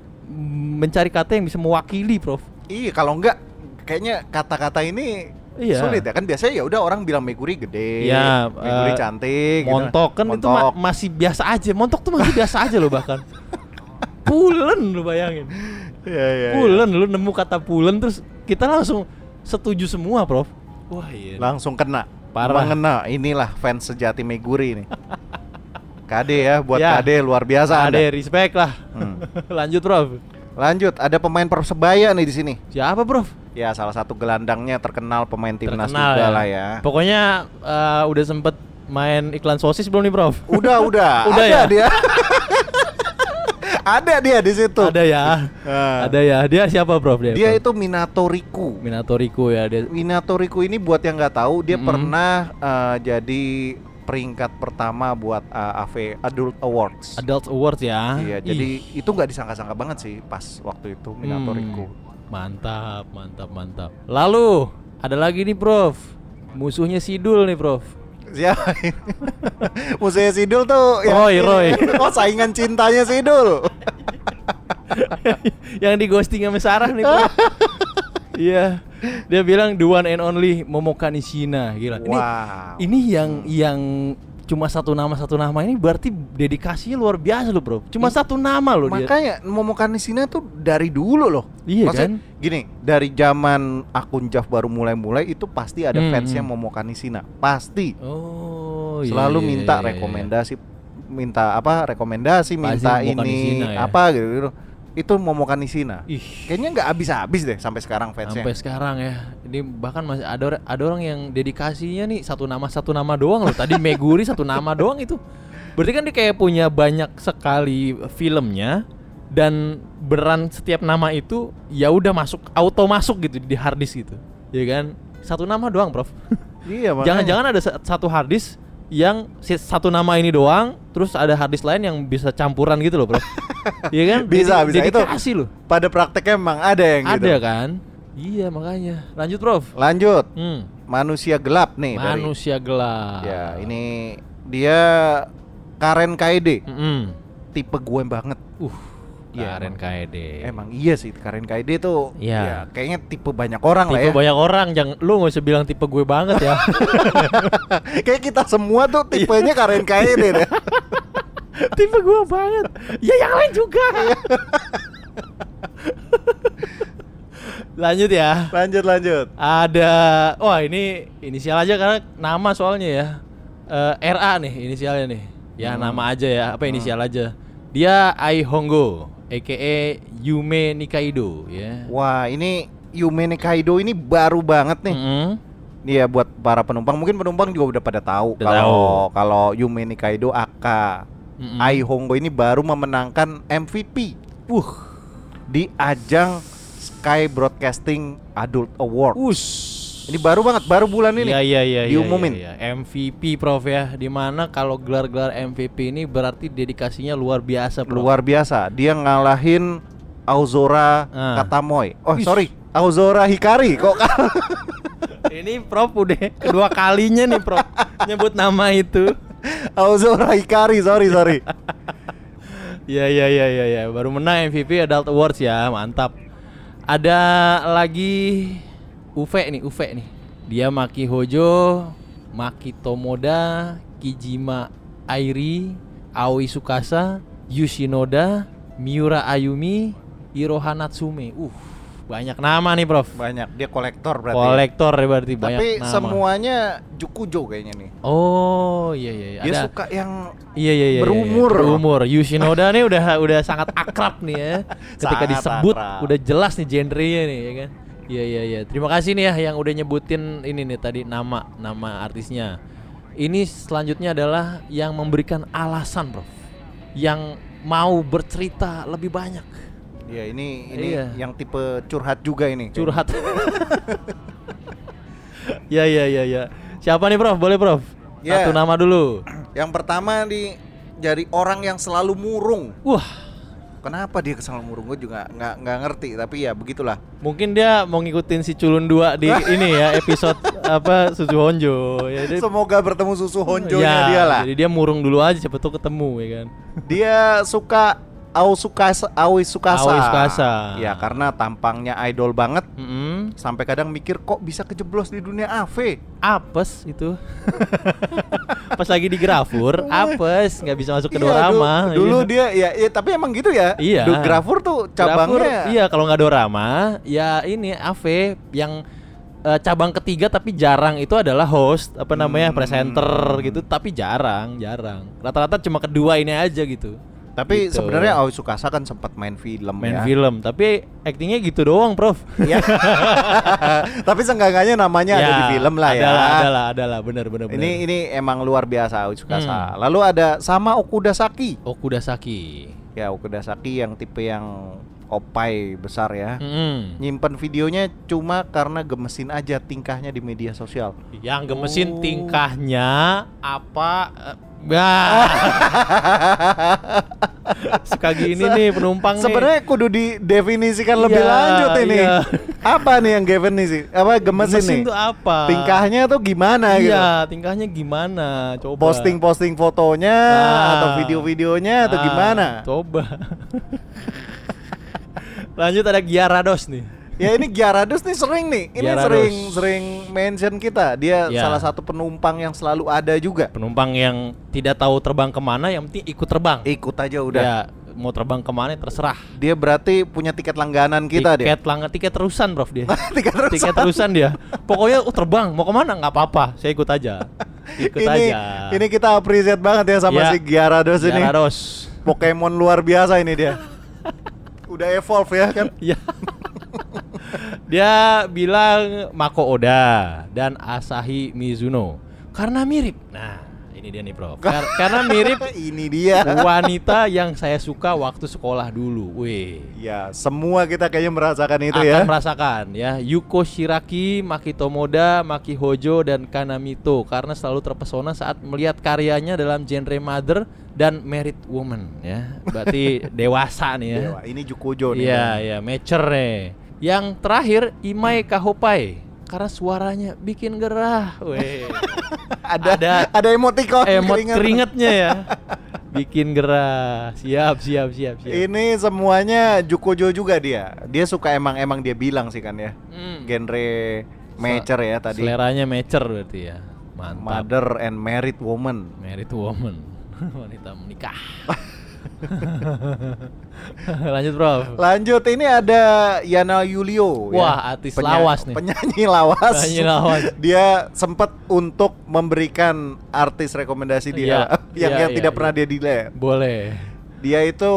Speaker 4: mencari kata yang bisa mewakili, Prof.
Speaker 5: Iya, kalau enggak kayaknya kata-kata ini
Speaker 4: Iya.
Speaker 5: sulit ya kan biasanya ya udah orang bilang Meguri gede,
Speaker 4: Iya,
Speaker 5: Meguri
Speaker 4: eh,
Speaker 5: cantik, gitu.
Speaker 4: montok kan itu ma-
Speaker 5: Montok.
Speaker 4: masih biasa aja montok tuh masih biasa aja loh bahkan pulen lu bayangin
Speaker 5: Iya, iya, iya.
Speaker 4: pulen lu nemu kata pulen terus kita langsung setuju semua prof wah iya
Speaker 5: Langsung kena.
Speaker 4: Parah.
Speaker 5: Mengena, inilah fans sejati Meguri nih. KD ya buat
Speaker 4: Ya.
Speaker 5: KD luar biasa
Speaker 4: Ada
Speaker 5: Anda.
Speaker 4: respect lah.
Speaker 5: Hmm.
Speaker 4: Lanjut, Prof.
Speaker 5: Lanjut, ada pemain Persebaya nih di sini.
Speaker 4: Siapa, Prof?
Speaker 5: Ya, salah satu gelandangnya terkenal pemain timnas
Speaker 4: Terkenal
Speaker 5: juga
Speaker 4: ya.
Speaker 5: lah ya.
Speaker 4: Pokoknya eh, udah sempet main iklan sosis belum nih, Prof?
Speaker 5: Udah, udah.
Speaker 4: Udah
Speaker 5: ada
Speaker 4: ya?
Speaker 5: dia. ada dia di situ.
Speaker 4: Ada ya.
Speaker 5: Ah.
Speaker 4: Ada ya. Dia siapa, Prof? Dia,
Speaker 5: Dia
Speaker 4: Prof?
Speaker 5: itu Minatoriku.
Speaker 4: Minatoriku ya dia.
Speaker 5: Minatoriku ini buat yang nggak tahu, dia
Speaker 4: Mm-mm.
Speaker 5: pernah eh, jadi peringkat pertama buat eh, AV Adult Awards.
Speaker 4: Adult Awards ya.
Speaker 5: Iya,
Speaker 4: Ih,
Speaker 5: jadi itu nggak disangka-sangka banget sih pas waktu itu Minatoriku.
Speaker 4: hmm, Mantap, mantap, mantap. Lalu ada lagi nih, Prof. Musuhnya Sidul nih, Prof.
Speaker 5: Siapa? ini? Iya. Musuhnya Sidul tuh yang-
Speaker 4: Roy, Roy.
Speaker 5: Oh, saingan cintanya Sidul.
Speaker 4: yang di ghosting sama Sarah nih, Prof. Iya. Dia bilang the one and only Momokani Shina, gila. Ini
Speaker 5: Wow.
Speaker 4: ini yang yang cuma satu nama satu nama ini berarti dedikasinya luar biasa loh, Bro. Cuma satu nama loh dia.
Speaker 5: Makanya Momokani Shina tuh dari dulu loh.
Speaker 4: Iya kan?
Speaker 5: Gini, dari zaman akun Jav baru mulai-mulai itu pasti ada
Speaker 4: Hmm,
Speaker 5: fansnya
Speaker 4: hmm.
Speaker 5: Momokani Shina. Pasti.
Speaker 4: Oh, iya,
Speaker 5: Selalu
Speaker 4: iya, iya,
Speaker 5: minta
Speaker 4: iya, iya.
Speaker 5: rekomendasi minta apa rekomendasi minta
Speaker 4: Momokani
Speaker 5: ini
Speaker 4: Shina ya.
Speaker 5: apa gitu, gitu. Itu Momokani Shina.
Speaker 4: Ih.
Speaker 5: Kayaknya nggak habis-habis deh sampai sekarang fansnya.
Speaker 4: Sampai sekarang ya. Ini bahkan masih ada or- ada orang yang dedikasinya nih satu nama satu nama doang loh. Tadi Meguri satu nama doang itu. Berarti kan dia kayak punya banyak sekali filmnya dan beran setiap nama itu ya udah masuk auto masuk gitu di hard disk gitu. Ya kan? Satu nama doang, Prof.
Speaker 5: Iya, makanya.
Speaker 4: Jangan-jangan ada sa- satu harddisk yang si- satu nama ini doang, terus ada harddisk lain yang bisa campuran gitu loh, Bro. Iya kan?
Speaker 5: Bisa,
Speaker 4: Jadi-
Speaker 5: bisa. Itu
Speaker 4: dedikasi loh.
Speaker 5: pada prakteknya emang ada yang gitu.
Speaker 4: Ada kan? Iya, makanya. Lanjut, Prof.
Speaker 5: Lanjut,
Speaker 4: Hmm.
Speaker 5: manusia gelap nih dari-
Speaker 4: Manusia gelap.
Speaker 5: Ya, ini dia Karen Kaede,
Speaker 4: Mm-mm.
Speaker 5: tipe gue banget.
Speaker 4: Uh.
Speaker 5: Iya,
Speaker 4: Karen E KD.
Speaker 5: Emang iya sih Karen Kaede tuh
Speaker 4: Iya.
Speaker 5: ya, kayaknya tipe banyak orang
Speaker 4: Tipe
Speaker 5: lah ya.
Speaker 4: banyak orang, jangan lu nggak usah bilang tipe gue banget ya.
Speaker 5: Kayak kita semua tuh
Speaker 4: Iya.
Speaker 5: tipenya Karen Kaede deh.
Speaker 4: tipe gue banget. Ya yang lain juga. Lanjut ya.
Speaker 5: Lanjut lanjut.
Speaker 4: Ada, wah ini inisial aja karena nama soalnya ya. Eh, RA nih inisialnya nih. Ya
Speaker 5: Hmm.
Speaker 4: nama aja ya, apa inisial aja. Dia Ai Hongo, aka Yume Nikaido ya.
Speaker 5: Wah, ini Yume Kaido ini baru banget nih.
Speaker 4: Mm-mm.
Speaker 5: Iya buat para penumpang, mungkin penumpang juga udah pada tahu
Speaker 4: Udah
Speaker 5: kalau kalau Yume Kaido AK
Speaker 4: Mm-mm.
Speaker 5: Ai Hongo ini baru memenangkan MVP
Speaker 4: Wuh,
Speaker 5: di ajang Sky Broadcasting Adult Award.
Speaker 4: us.
Speaker 5: Ini baru banget, baru bulan ini.
Speaker 4: Iya iya iya. iya,
Speaker 5: diumumin.
Speaker 4: iya, iya. MVP Prof ya, dimana kalau gelar-gelar MVP ini berarti dedikasinya luar biasa. Prof.
Speaker 5: Luar biasa. Dia ngalahin Aozora
Speaker 4: Ah.
Speaker 5: Katamoy. Oh,
Speaker 4: Wih.
Speaker 5: sorry. Aozora Hikari kok kalah?
Speaker 4: Ini Prof udah kedua kalinya nih Prof nyebut nama itu.
Speaker 5: Aozora Hikari, sorry, sorry.
Speaker 4: Iya iya iya iya ya. baru menang MVP Adult Awards ya, mantap. Ada lagi Uve nih, Uve nih. Dia Maki Hojo, Maki Tomoda, Kijima Airi, Aoi Sukasa, Yushinoda, Miura Ayumi, Iroha Natsume. Uh, banyak nama nih, Prof.
Speaker 5: Banyak dia kolektor berarti.
Speaker 4: Kolektor ya berarti banyak
Speaker 5: Tapi
Speaker 4: nama.
Speaker 5: semuanya Jukujo kayaknya nih.
Speaker 4: Oh, iya iya iya.
Speaker 5: Dia
Speaker 4: Ada-
Speaker 5: suka yang
Speaker 4: Iya iya iya.
Speaker 5: Berumur.
Speaker 4: Iya, berumur. Yushinoda nih udah udah sangat akrab nih ya. Ketika
Speaker 5: Sangat
Speaker 4: disebut
Speaker 5: akrab.
Speaker 4: udah jelas nih genrenya nih ya kan. Iya iya iya. Terima kasih nih ya yang udah nyebutin ini nih tadi nama nama artisnya. Ini selanjutnya adalah yang memberikan alasan, Prof. Yang mau bercerita lebih banyak.
Speaker 5: ya ini ini
Speaker 4: Iya.
Speaker 5: yang tipe curhat juga ini.
Speaker 4: Curhat. ya ya ya ya. Siapa nih, Prof? Boleh, Prof?
Speaker 5: Ya.
Speaker 4: Satu nama dulu.
Speaker 5: Yang pertama di dari orang yang selalu murung.
Speaker 4: Wah,
Speaker 5: Kenapa dia kesal murung? Gue juga nggak nggak ngerti. Tapi ya begitulah.
Speaker 4: Mungkin dia mau ngikutin si culun dua di ini ya episode apa Susu Honjo ya dia,
Speaker 5: Semoga bertemu susu honjonya
Speaker 4: Ya,
Speaker 5: dia lah.
Speaker 4: Jadi dia murung dulu aja siapa tuh ketemu ya kan.
Speaker 5: Dia suka Ao Sukasa, Aoi Sukasa.
Speaker 4: Aoi Sukasa.
Speaker 5: Ya karena tampangnya idol banget
Speaker 4: Mm-mm.
Speaker 5: sampai kadang mikir kok bisa kejeblos di dunia AV.
Speaker 4: Apes itu. Pas lagi di Grafur, apes nggak bisa masuk ke dorama.
Speaker 5: du- Iya, dulu dia ya, ya tapi emang gitu ya.
Speaker 4: Iya.
Speaker 5: Du- Grafur tuh
Speaker 4: Grafur,
Speaker 5: cabangnya.
Speaker 4: iya kalau nggak dorama, ya ini AV yang eh, cabang ketiga tapi jarang itu adalah host apa namanya
Speaker 5: Hmm.
Speaker 4: presenter gitu tapi jarang jarang rata-rata cuma kedua ini aja gitu
Speaker 5: Tapi
Speaker 4: Gitu.
Speaker 5: sebenarnya Aoi Sukasa kan sempat main film
Speaker 4: main
Speaker 5: ya.
Speaker 4: film tapi actingnya gitu doang prof
Speaker 5: Iya. Tapi seenggaknya namanya ada di film lah ya.
Speaker 4: adalah adalah adalah benar benar
Speaker 5: Ini
Speaker 4: benar.
Speaker 5: ini emang luar biasa Aoi
Speaker 4: Hmm.
Speaker 5: Sukasa. Lalu ada sama Okuda Saki.
Speaker 4: oh kudasaki
Speaker 5: Ya Okuda Saki yang tipe yang opai besar ya.
Speaker 4: Hmm. Mm-mm.
Speaker 5: Nyimpen videonya cuma karena gemesin aja tingkahnya di media sosial.
Speaker 4: yang gemesin
Speaker 5: Oh.
Speaker 4: tingkahnya apa eh, Bah. suka gini nih penumpang nih.
Speaker 5: Sebenarnya kudu didefinisikan lebih
Speaker 4: Iya,
Speaker 5: lanjut ini.
Speaker 4: iya.
Speaker 5: Apa nih yang gemesin? Apa gemesin,
Speaker 4: gemesin
Speaker 5: nih?
Speaker 4: tuh apa
Speaker 5: Tingkahnya tuh gimana gitu?
Speaker 4: Iya, tingkahnya gimana? Coba.
Speaker 5: posting-posting fotonya
Speaker 4: Ah.
Speaker 5: atau video-videonya atau
Speaker 4: Ah,
Speaker 5: gimana?
Speaker 4: Coba. Lanjut ada Giarados nih.
Speaker 5: Ya ini Giaradus nih sering nih. Ini
Speaker 4: Giaradus.
Speaker 5: sering sering mention kita. Dia
Speaker 4: Ya.
Speaker 5: salah satu penumpang yang selalu ada juga.
Speaker 4: Penumpang yang tidak tahu terbang kemana, yang penting ikut terbang.
Speaker 5: Ikut aja udah.
Speaker 4: Ya, mau terbang kemana terserah.
Speaker 5: Dia berarti punya tiket langganan kita
Speaker 4: tiket
Speaker 5: deh.
Speaker 4: langga- tiket terusan, Prof dia.
Speaker 5: tiket terus.
Speaker 4: tiket terusan dia. Pokoknya oh, terbang, mau kemana nggak apa-apa, saya ikut aja. Ikut
Speaker 5: ini
Speaker 4: aja.
Speaker 5: ini kita appreciate banget ya sama
Speaker 4: Ya.
Speaker 5: si Giarados ini.
Speaker 4: Giarados.
Speaker 5: Pokemon luar biasa ini dia. udah evolve ya kan.
Speaker 4: Ya. Dia bilang Mako Oda dan Asahi Mizuno karena mirip. Nah, ini dia nih, Prof. Kar- karena mirip
Speaker 5: ini dia.
Speaker 4: wanita yang saya suka waktu sekolah dulu. Wih.
Speaker 5: Ya, semua kita kayaknya merasakan itu
Speaker 4: akan
Speaker 5: ya.
Speaker 4: merasakan ya Yuko Shiraki, Maki Tomoda, Maki Hojo dan Kanamito karena selalu terpesona saat melihat karyanya dalam genre mother dan married woman ya. Berarti dewasa nih ya.
Speaker 5: Dewa, ini Jukujo nih. ya.
Speaker 4: Iya, iya, mature nih. Yang terakhir Imai Kahopai karena suaranya bikin gerah. Weh.
Speaker 5: ada ada,
Speaker 4: Ada Eh,
Speaker 5: emoticon
Speaker 4: Emot
Speaker 5: keringat.
Speaker 4: keringetnya ya. Bikin gerah. Siap, siap, siap, siap.
Speaker 5: Iya. Ini semuanya Jukujo juga dia. Dia suka emang emang dia bilang sih kan ya.
Speaker 4: Hmm.
Speaker 5: Genre mature ya tadi.
Speaker 4: Seleranya mature berarti ya. Mantap.
Speaker 5: Mother and married woman.
Speaker 4: Married woman. Wanita menikah. Lanjut, Prof.
Speaker 5: Lanjut ini ada Yana Yulio ya.
Speaker 4: Wah, artis lawas nih.
Speaker 5: Penyanyi lawas.
Speaker 4: Penyanyi lawas.
Speaker 5: dia sempat untuk memberikan artis rekomendasi dia
Speaker 4: Iya,
Speaker 5: yang
Speaker 4: iya,
Speaker 5: yang
Speaker 4: iya,
Speaker 5: tidak
Speaker 4: iya.
Speaker 5: pernah dia delay.
Speaker 4: Boleh.
Speaker 5: Dia itu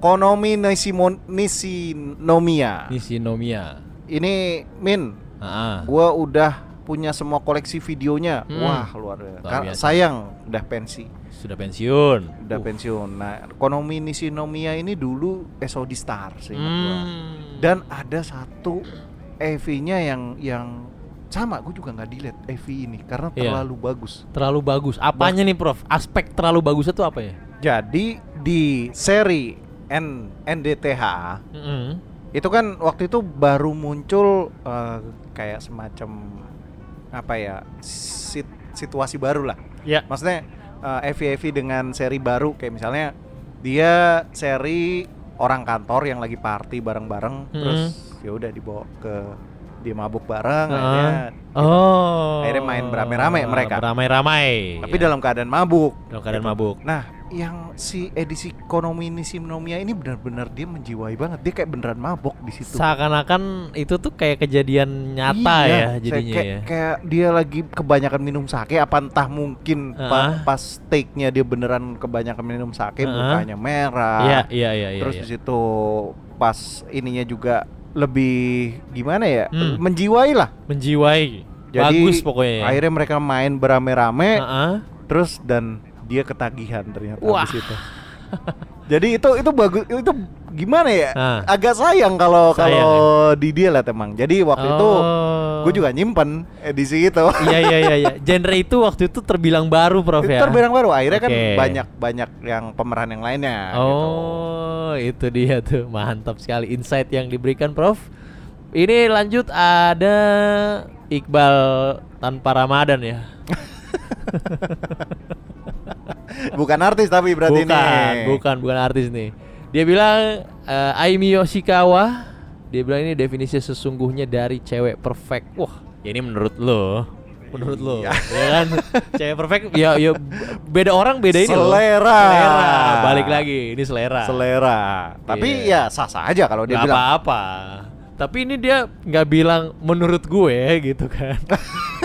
Speaker 5: Konomi Nishimon Nishinomiya.
Speaker 4: Nishinomiya.
Speaker 5: Ini Min,
Speaker 4: Heeh.
Speaker 5: gua udah punya semua koleksi videonya.
Speaker 4: Ah. Hmm.
Speaker 5: Wah, luar biasa.
Speaker 4: Luar
Speaker 5: Karena
Speaker 4: biasa.
Speaker 5: sayang udah pensi,
Speaker 4: Sudah pensiun.
Speaker 5: udah
Speaker 4: Uh.
Speaker 5: pensiun. Nah, ekonomi Nishinomiya ini dulu SOD Star sih.
Speaker 4: Hmm.
Speaker 5: Dan ada satu EV-nya yang yang sama, gue juga nggak delete EV ini karena
Speaker 4: Iya.
Speaker 5: terlalu bagus.
Speaker 4: terlalu bagus. Apanya nih, Prof? Aspek terlalu bagusnya tuh apa ya?
Speaker 5: Jadi di seri N NDTH itu kan waktu itu baru muncul eh, kayak semacam apa ya sit- situasi baru lah.
Speaker 4: Ya.
Speaker 5: Maksudnya uh, EV dengan seri baru kayak misalnya dia seri orang kantor yang lagi party bareng-bareng
Speaker 4: Hmm.
Speaker 5: terus ya udah dibawa ke dia mabuk bareng
Speaker 4: Heeh.
Speaker 5: akhirnya
Speaker 4: Oh.
Speaker 5: Nah, iya. Akhirnya main beramai-ramai mereka.
Speaker 4: Beramai-ramai.
Speaker 5: tapi
Speaker 4: Ya.
Speaker 5: dalam keadaan mabuk.
Speaker 4: dalam keadaan mabuk.
Speaker 5: Nah, yang si edisi ekonomi ini Simnomia ini benar-benar dia menjiwai banget. Dia kayak beneran mabuk di situ.
Speaker 4: Seakan-akan itu tuh kayak kejadian nyata
Speaker 5: Iya,
Speaker 4: ya jadinya
Speaker 5: kayak,
Speaker 4: ya.
Speaker 5: kayak dia lagi kebanyakan minum sake apa entah mungkin
Speaker 4: Ah.
Speaker 5: pa- pas take-nya dia beneran kebanyakan minum sake
Speaker 4: Ah.
Speaker 5: mukanya merah.
Speaker 4: Iya, iya, iya, iya.
Speaker 5: Terus
Speaker 4: iya.
Speaker 5: di situ pas ininya juga lebih gimana ya?
Speaker 4: Hmm.
Speaker 5: Menjiwai lah.
Speaker 4: menjiwai.
Speaker 5: Jadi
Speaker 4: bagus pokoknya. ya.
Speaker 5: akhirnya mereka main berame-rame
Speaker 4: Heeh.
Speaker 5: terus dan dia ketagihan ternyata
Speaker 4: Wah.
Speaker 5: habis itu. Jadi itu itu bagus itu gimana ya?
Speaker 4: Ah.
Speaker 5: Agak sayang kalau
Speaker 4: Sayang, ya?
Speaker 5: kalau di dia lah emang. Jadi waktu itu
Speaker 4: Oh.
Speaker 5: gue juga nyimpen eh, edisi itu.
Speaker 4: Iya, iya, iya, iya. Genre itu waktu itu terbilang baru, Prof ya.
Speaker 5: Itu terbilang baru akhirnya kan
Speaker 4: Oke.
Speaker 5: banyak banyak yang pemeran yang lainnya gitu.
Speaker 4: Nah, Oh, itu dia tuh. Mantap sekali insight yang diberikan Prof. Ini lanjut ada Iqbal tanpa Ramadan ya.
Speaker 5: Bukan artis tapi berarti
Speaker 4: bukan,
Speaker 5: ini.
Speaker 4: bukan, bukan artis nih. Dia bilang eh, Aimi Yoshikawa. Dia bilang ini definisi sesungguhnya dari cewek perfect. Wah, ya ini menurut lo. Menurut lo,
Speaker 5: Iya.
Speaker 4: ya kan? Cewek perfect ya ya beda orang beda ini loh.
Speaker 5: Selera.
Speaker 4: Selera. Balik lagi, ini selera.
Speaker 5: Selera. Tapi
Speaker 4: Iya.
Speaker 5: ya sah-sah aja kalau dia
Speaker 4: Nggak
Speaker 5: bilang.
Speaker 4: apa-apa. Tapi ini dia nggak bilang menurut gue gitu kan.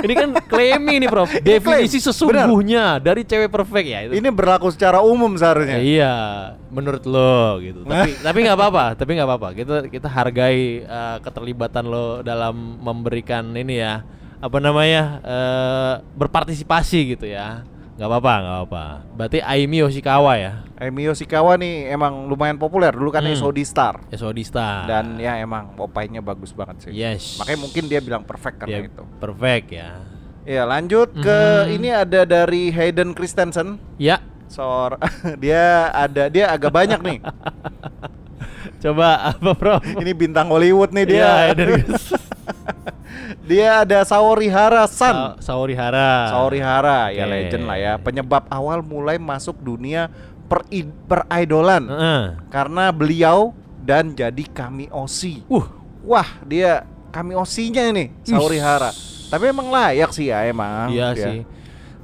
Speaker 4: ini kan claiming nih Prof. Definisi
Speaker 5: Claim, benar.
Speaker 4: sesungguhnya dari cewek perfect ya itu.
Speaker 5: Ini berlaku secara umum seharusnya.
Speaker 4: Iya, menurut lo gitu. Tapi tapi nggak apa-apa, tapi nggak apa-apa. Kita kita hargai eh, keterlibatan lo dalam memberikan ini ya apa namanya eh, berpartisipasi gitu ya. Nggak apa-apa, nggak apa. Berarti Aimi Yoshikawa ya,
Speaker 5: Emi Yoshikawa Eh, nih emang lumayan populer dulu kan
Speaker 4: Hmm.
Speaker 5: SOD Star
Speaker 4: SOD Star.
Speaker 5: dan ya emang opainya bagus banget sih.
Speaker 4: Yes.
Speaker 5: Makanya mungkin dia bilang perfect karena
Speaker 4: Dia
Speaker 5: itu.
Speaker 4: perfect ya.
Speaker 5: Ya lanjut ke
Speaker 4: Hmm.
Speaker 5: ini ada dari Hayden Christensen.
Speaker 4: Ya,
Speaker 5: Seor dia ada dia agak banyak nih.
Speaker 4: coba apa Prof?
Speaker 5: Ini bintang Hollywood nih dia.
Speaker 4: Iya, Hayden Christensen.
Speaker 5: dia ada Saorihara
Speaker 4: Sa-
Speaker 5: San.
Speaker 4: Saorihara.
Speaker 5: Saorihara ya
Speaker 4: Ah, Oke.
Speaker 5: legend lah ya. Penyebab awal mulai masuk dunia per peridolan
Speaker 4: Heeh.
Speaker 5: karena beliau dan jadi kami Osi.
Speaker 4: Uh,
Speaker 5: Wah, dia kami Osinya ini Saorihara. Tapi emang layak sih ya emang.
Speaker 4: iya
Speaker 5: dia.
Speaker 4: sih.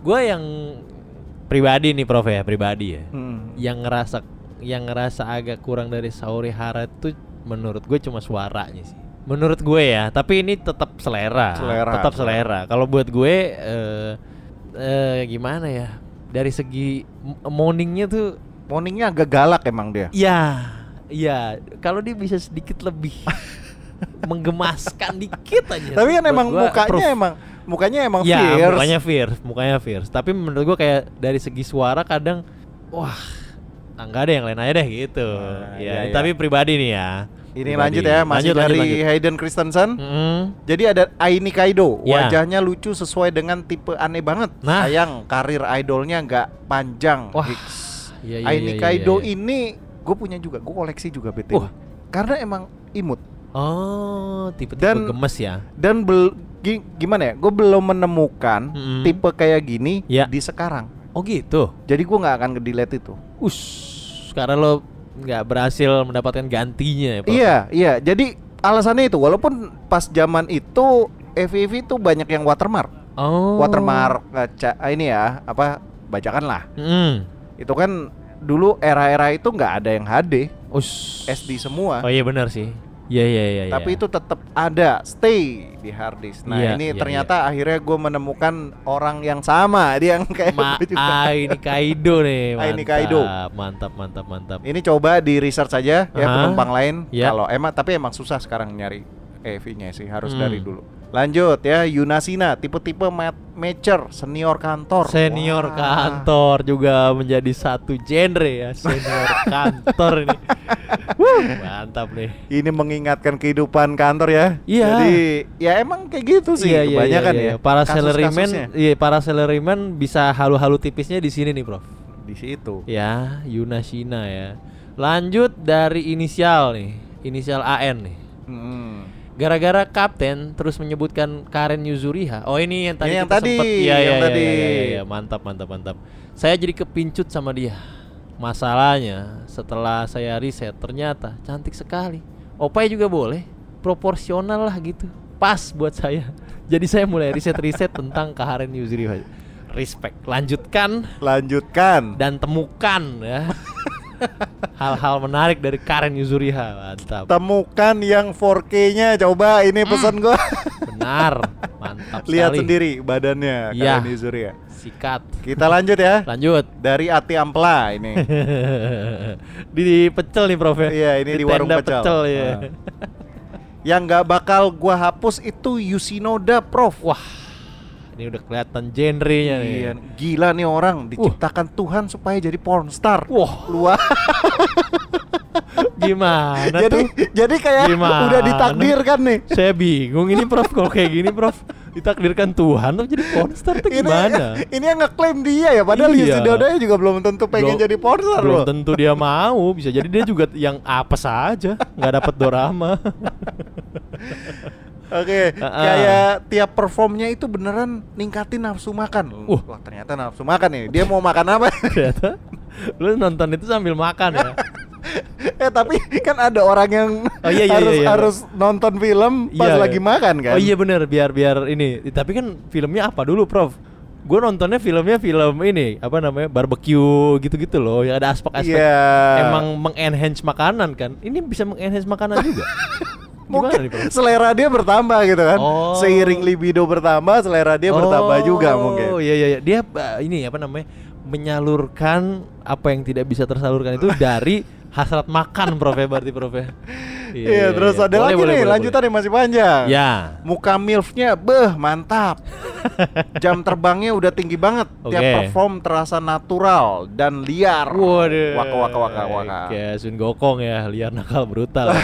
Speaker 4: Gue yang pribadi nih Prof ya, pribadi ya.
Speaker 5: Hmm.
Speaker 4: Yang ngerasa yang ngerasa agak kurang dari Saorihara tuh menurut gue cuma suaranya sih. Menurut gue ya, tapi ini tetap selera,
Speaker 5: Selera,
Speaker 4: tetap
Speaker 5: selera.
Speaker 4: selera. Kalau buat gue eh eh, gimana ya? Dari segi m- morningnya tuh
Speaker 5: Morningnya agak galak emang dia.
Speaker 4: Ya, ya. Kalau dia bisa sedikit lebih menggemaskan dikit aja.
Speaker 5: Tapi kan
Speaker 4: Iya, Buat
Speaker 5: emang
Speaker 4: gua
Speaker 5: mukanya
Speaker 4: approve.
Speaker 5: emang mukanya emang
Speaker 4: ya,
Speaker 5: fierce.
Speaker 4: mukanya fierce, mukanya fierce. Tapi menurut gua kayak dari segi suara kadang, wah, ah, nggak ada yang lain aja deh gitu. ya,
Speaker 5: Nah, iya, iya.
Speaker 4: tapi pribadi nih ya.
Speaker 5: Ini
Speaker 4: Pribadi.
Speaker 5: lanjut ya masih
Speaker 4: Lanjut, lanjut,
Speaker 5: dari
Speaker 4: lanjut.
Speaker 5: Hayden Christensen.
Speaker 4: Mm-mm.
Speaker 5: Jadi ada Aini Kaido,
Speaker 4: Ya.
Speaker 5: wajahnya lucu sesuai dengan tipe aneh banget.
Speaker 4: Nah.
Speaker 5: Sayang karir idolnya nggak panjang.
Speaker 4: Wah,
Speaker 5: Hicks.
Speaker 4: iya, iya, iya,
Speaker 5: Aini Kaido
Speaker 4: iya, iya.
Speaker 5: ini gue punya juga, gue koleksi juga BTW.
Speaker 4: Wah.
Speaker 5: Karena emang imut
Speaker 4: Oh, tipe-tipe
Speaker 5: Dan-
Speaker 4: gemes ya.
Speaker 5: dan bel- gi- gimana ya? Gue belum menemukan
Speaker 4: Mm-mm.
Speaker 5: tipe kayak gini
Speaker 4: Ya.
Speaker 5: di sekarang.
Speaker 4: Oh gitu.
Speaker 5: Jadi gue nggak akan ngedelete itu.
Speaker 4: Us, karena lo nggak berhasil mendapatkan gantinya ya. Prof.
Speaker 5: Iya, iya. Jadi alasannya itu walaupun pas zaman itu FIV itu banyak yang watermark.
Speaker 4: Oh.
Speaker 5: Watermark eh, ca- eh, ini ya, apa bacakan lah.
Speaker 4: Mm.
Speaker 5: Itu kan dulu era-era itu nggak ada yang HD,
Speaker 4: Us.
Speaker 5: SD semua.
Speaker 4: Oh iya benar sih. Iya iya iya.
Speaker 5: Tapi
Speaker 4: iya.
Speaker 5: itu tetap ada stay di hard disk. Nah,
Speaker 4: Iya,
Speaker 5: ini
Speaker 4: iya,
Speaker 5: ternyata akhirnya gue menemukan orang yang sama, dia yang kayak gitu.
Speaker 4: Ma
Speaker 5: gua juga.
Speaker 4: ah, ini Kaido nih.
Speaker 5: Eh, Ah,
Speaker 4: Mantap,
Speaker 5: ini Kaido.
Speaker 4: Mantap mantap mantap.
Speaker 5: Ini coba di research aja ya
Speaker 4: Aha.
Speaker 5: penumpang lain.
Speaker 4: Ya.
Speaker 5: Kalau emang tapi emang susah sekarang nyari EV-nya sih harus
Speaker 4: Hmm.
Speaker 5: dari dulu. Lanjut ya Yunasina tipe-tipe mat- matcher senior kantor.
Speaker 4: Senior
Speaker 5: Wah.
Speaker 4: kantor juga menjadi satu genre ya senior kantor ini. Wuh, mantap nih.
Speaker 5: Ini mengingatkan kehidupan kantor ya.
Speaker 4: Iya.
Speaker 5: Jadi ya emang kayak gitu sih
Speaker 4: Iya, iya,
Speaker 5: kebanyakan
Speaker 4: iya, iya.
Speaker 5: ya.
Speaker 4: Para
Speaker 5: Kasus-kasusnya
Speaker 4: salaryman, iya para salaryman bisa halu-halu tipisnya di sini nih, Prof.
Speaker 5: di situ.
Speaker 4: Ya, Yunashina ya. Lanjut dari inisial nih, inisial AN nih.
Speaker 5: Hmm.
Speaker 4: Gara-gara kapten terus menyebutkan Karen Yuzuriha. Oh ini yang tadi
Speaker 5: Ini yang
Speaker 4: kita
Speaker 5: tadi,
Speaker 4: sempet- Iya,
Speaker 5: yang
Speaker 4: iya, iya,
Speaker 5: tadi.
Speaker 4: iya, iya, iya. mantap mantap mantap. Saya jadi kepincut sama dia. Masalahnya setelah saya riset ternyata cantik sekali. Opai juga boleh, proporsional lah gitu. Pas buat saya. Jadi saya mulai riset-riset tentang Karen Yuzuriha. Respect. Lanjutkan
Speaker 5: Lanjutkan.
Speaker 4: dan temukan ya. Hal-hal menarik dari Karen Yuzuriha. Mantap.
Speaker 5: Temukan yang 4K-nya coba ini pesan gua.
Speaker 4: Benar, mantap Hmm.
Speaker 5: Lihat
Speaker 4: sekali.
Speaker 5: sendiri badannya
Speaker 4: Iya.
Speaker 5: Karen Izuri ya.
Speaker 4: Sikat.
Speaker 5: Kita lanjut ya.
Speaker 4: Lanjut.
Speaker 5: Dari Ati Ampla ini.
Speaker 4: di, di pecel nih Prof ya.
Speaker 5: Iya, ini di warung
Speaker 4: tenda
Speaker 5: pecel.
Speaker 4: ya.
Speaker 5: Ah. Yang nggak bakal gua hapus itu Yusinoda Prof.
Speaker 4: Wah. Ini udah kelihatan genrenya nih.
Speaker 5: Iya, gila nih orang diciptakan Tuhan supaya jadi pornstar.
Speaker 4: Wah,
Speaker 5: Luar.
Speaker 4: gimana
Speaker 5: jadi
Speaker 4: tuh?
Speaker 5: jadi kayak
Speaker 4: Gimana?
Speaker 5: udah ditakdirkan nih.
Speaker 4: Saya bingung ini Prof kalau kayak gini Prof ditakdirkan Tuhan tuh jadi monster tuh
Speaker 5: Ini, ya,
Speaker 4: gimana?
Speaker 5: ini yang ngeklaim dia ya padahal
Speaker 4: Iya.
Speaker 5: Yusinodanya juga belum tentu pengen
Speaker 4: Belum-
Speaker 5: jadi pornstar
Speaker 4: Belum
Speaker 5: loh.
Speaker 4: tentu dia mau, bisa jadi dia juga yang apa saja, nggak dapat dorama.
Speaker 5: Oke,
Speaker 4: Ah, ah.
Speaker 5: kayak tiap performnya itu beneran ningkatin nafsu makan.
Speaker 4: Uh.
Speaker 5: Wah, ternyata nafsu makan nih. Dia mau makan apa?
Speaker 4: Ternyata lu nonton itu sambil makan ya.
Speaker 5: eh, tapi kan ada orang yang
Speaker 4: Oh, iya, iya,
Speaker 5: harus
Speaker 4: iya, iya.
Speaker 5: harus nonton film
Speaker 4: Iya.
Speaker 5: pas lagi makan kan.
Speaker 4: Oh iya bener biar biar ini. Eh, Tapi kan filmnya apa dulu, Prof? Gue nontonnya filmnya film ini apa namanya barbecue gitu-gitu loh yang ada aspek-aspek
Speaker 5: Iya.
Speaker 4: emang mengenhance makanan kan. Ini bisa mengenhance makanan juga. nih,
Speaker 5: mungkin
Speaker 4: Prof?
Speaker 5: selera dia bertambah gitu kan.
Speaker 4: Oh.
Speaker 5: Seiring libido bertambah, selera dia bertambah juga mungkin.
Speaker 4: Oh iya iya iya. dia uh, ini apa namanya menyalurkan apa yang tidak bisa tersalurkan itu dari hasrat makan Prof ya berarti Prof ya.
Speaker 5: Iya, terus ada
Speaker 4: Boleh, boleh,
Speaker 5: lagi nih
Speaker 4: boleh,
Speaker 5: lanjutan yang masih panjang.
Speaker 4: boleh. Ya.
Speaker 5: Muka milfnya beh mantap. Jam terbangnya udah tinggi banget. Tiap
Speaker 4: Oke.
Speaker 5: perform terasa natural dan liar.
Speaker 4: Waduh.
Speaker 5: Waka waka waka waka.
Speaker 4: Kayak Sun Gokong ya, liar nakal brutal.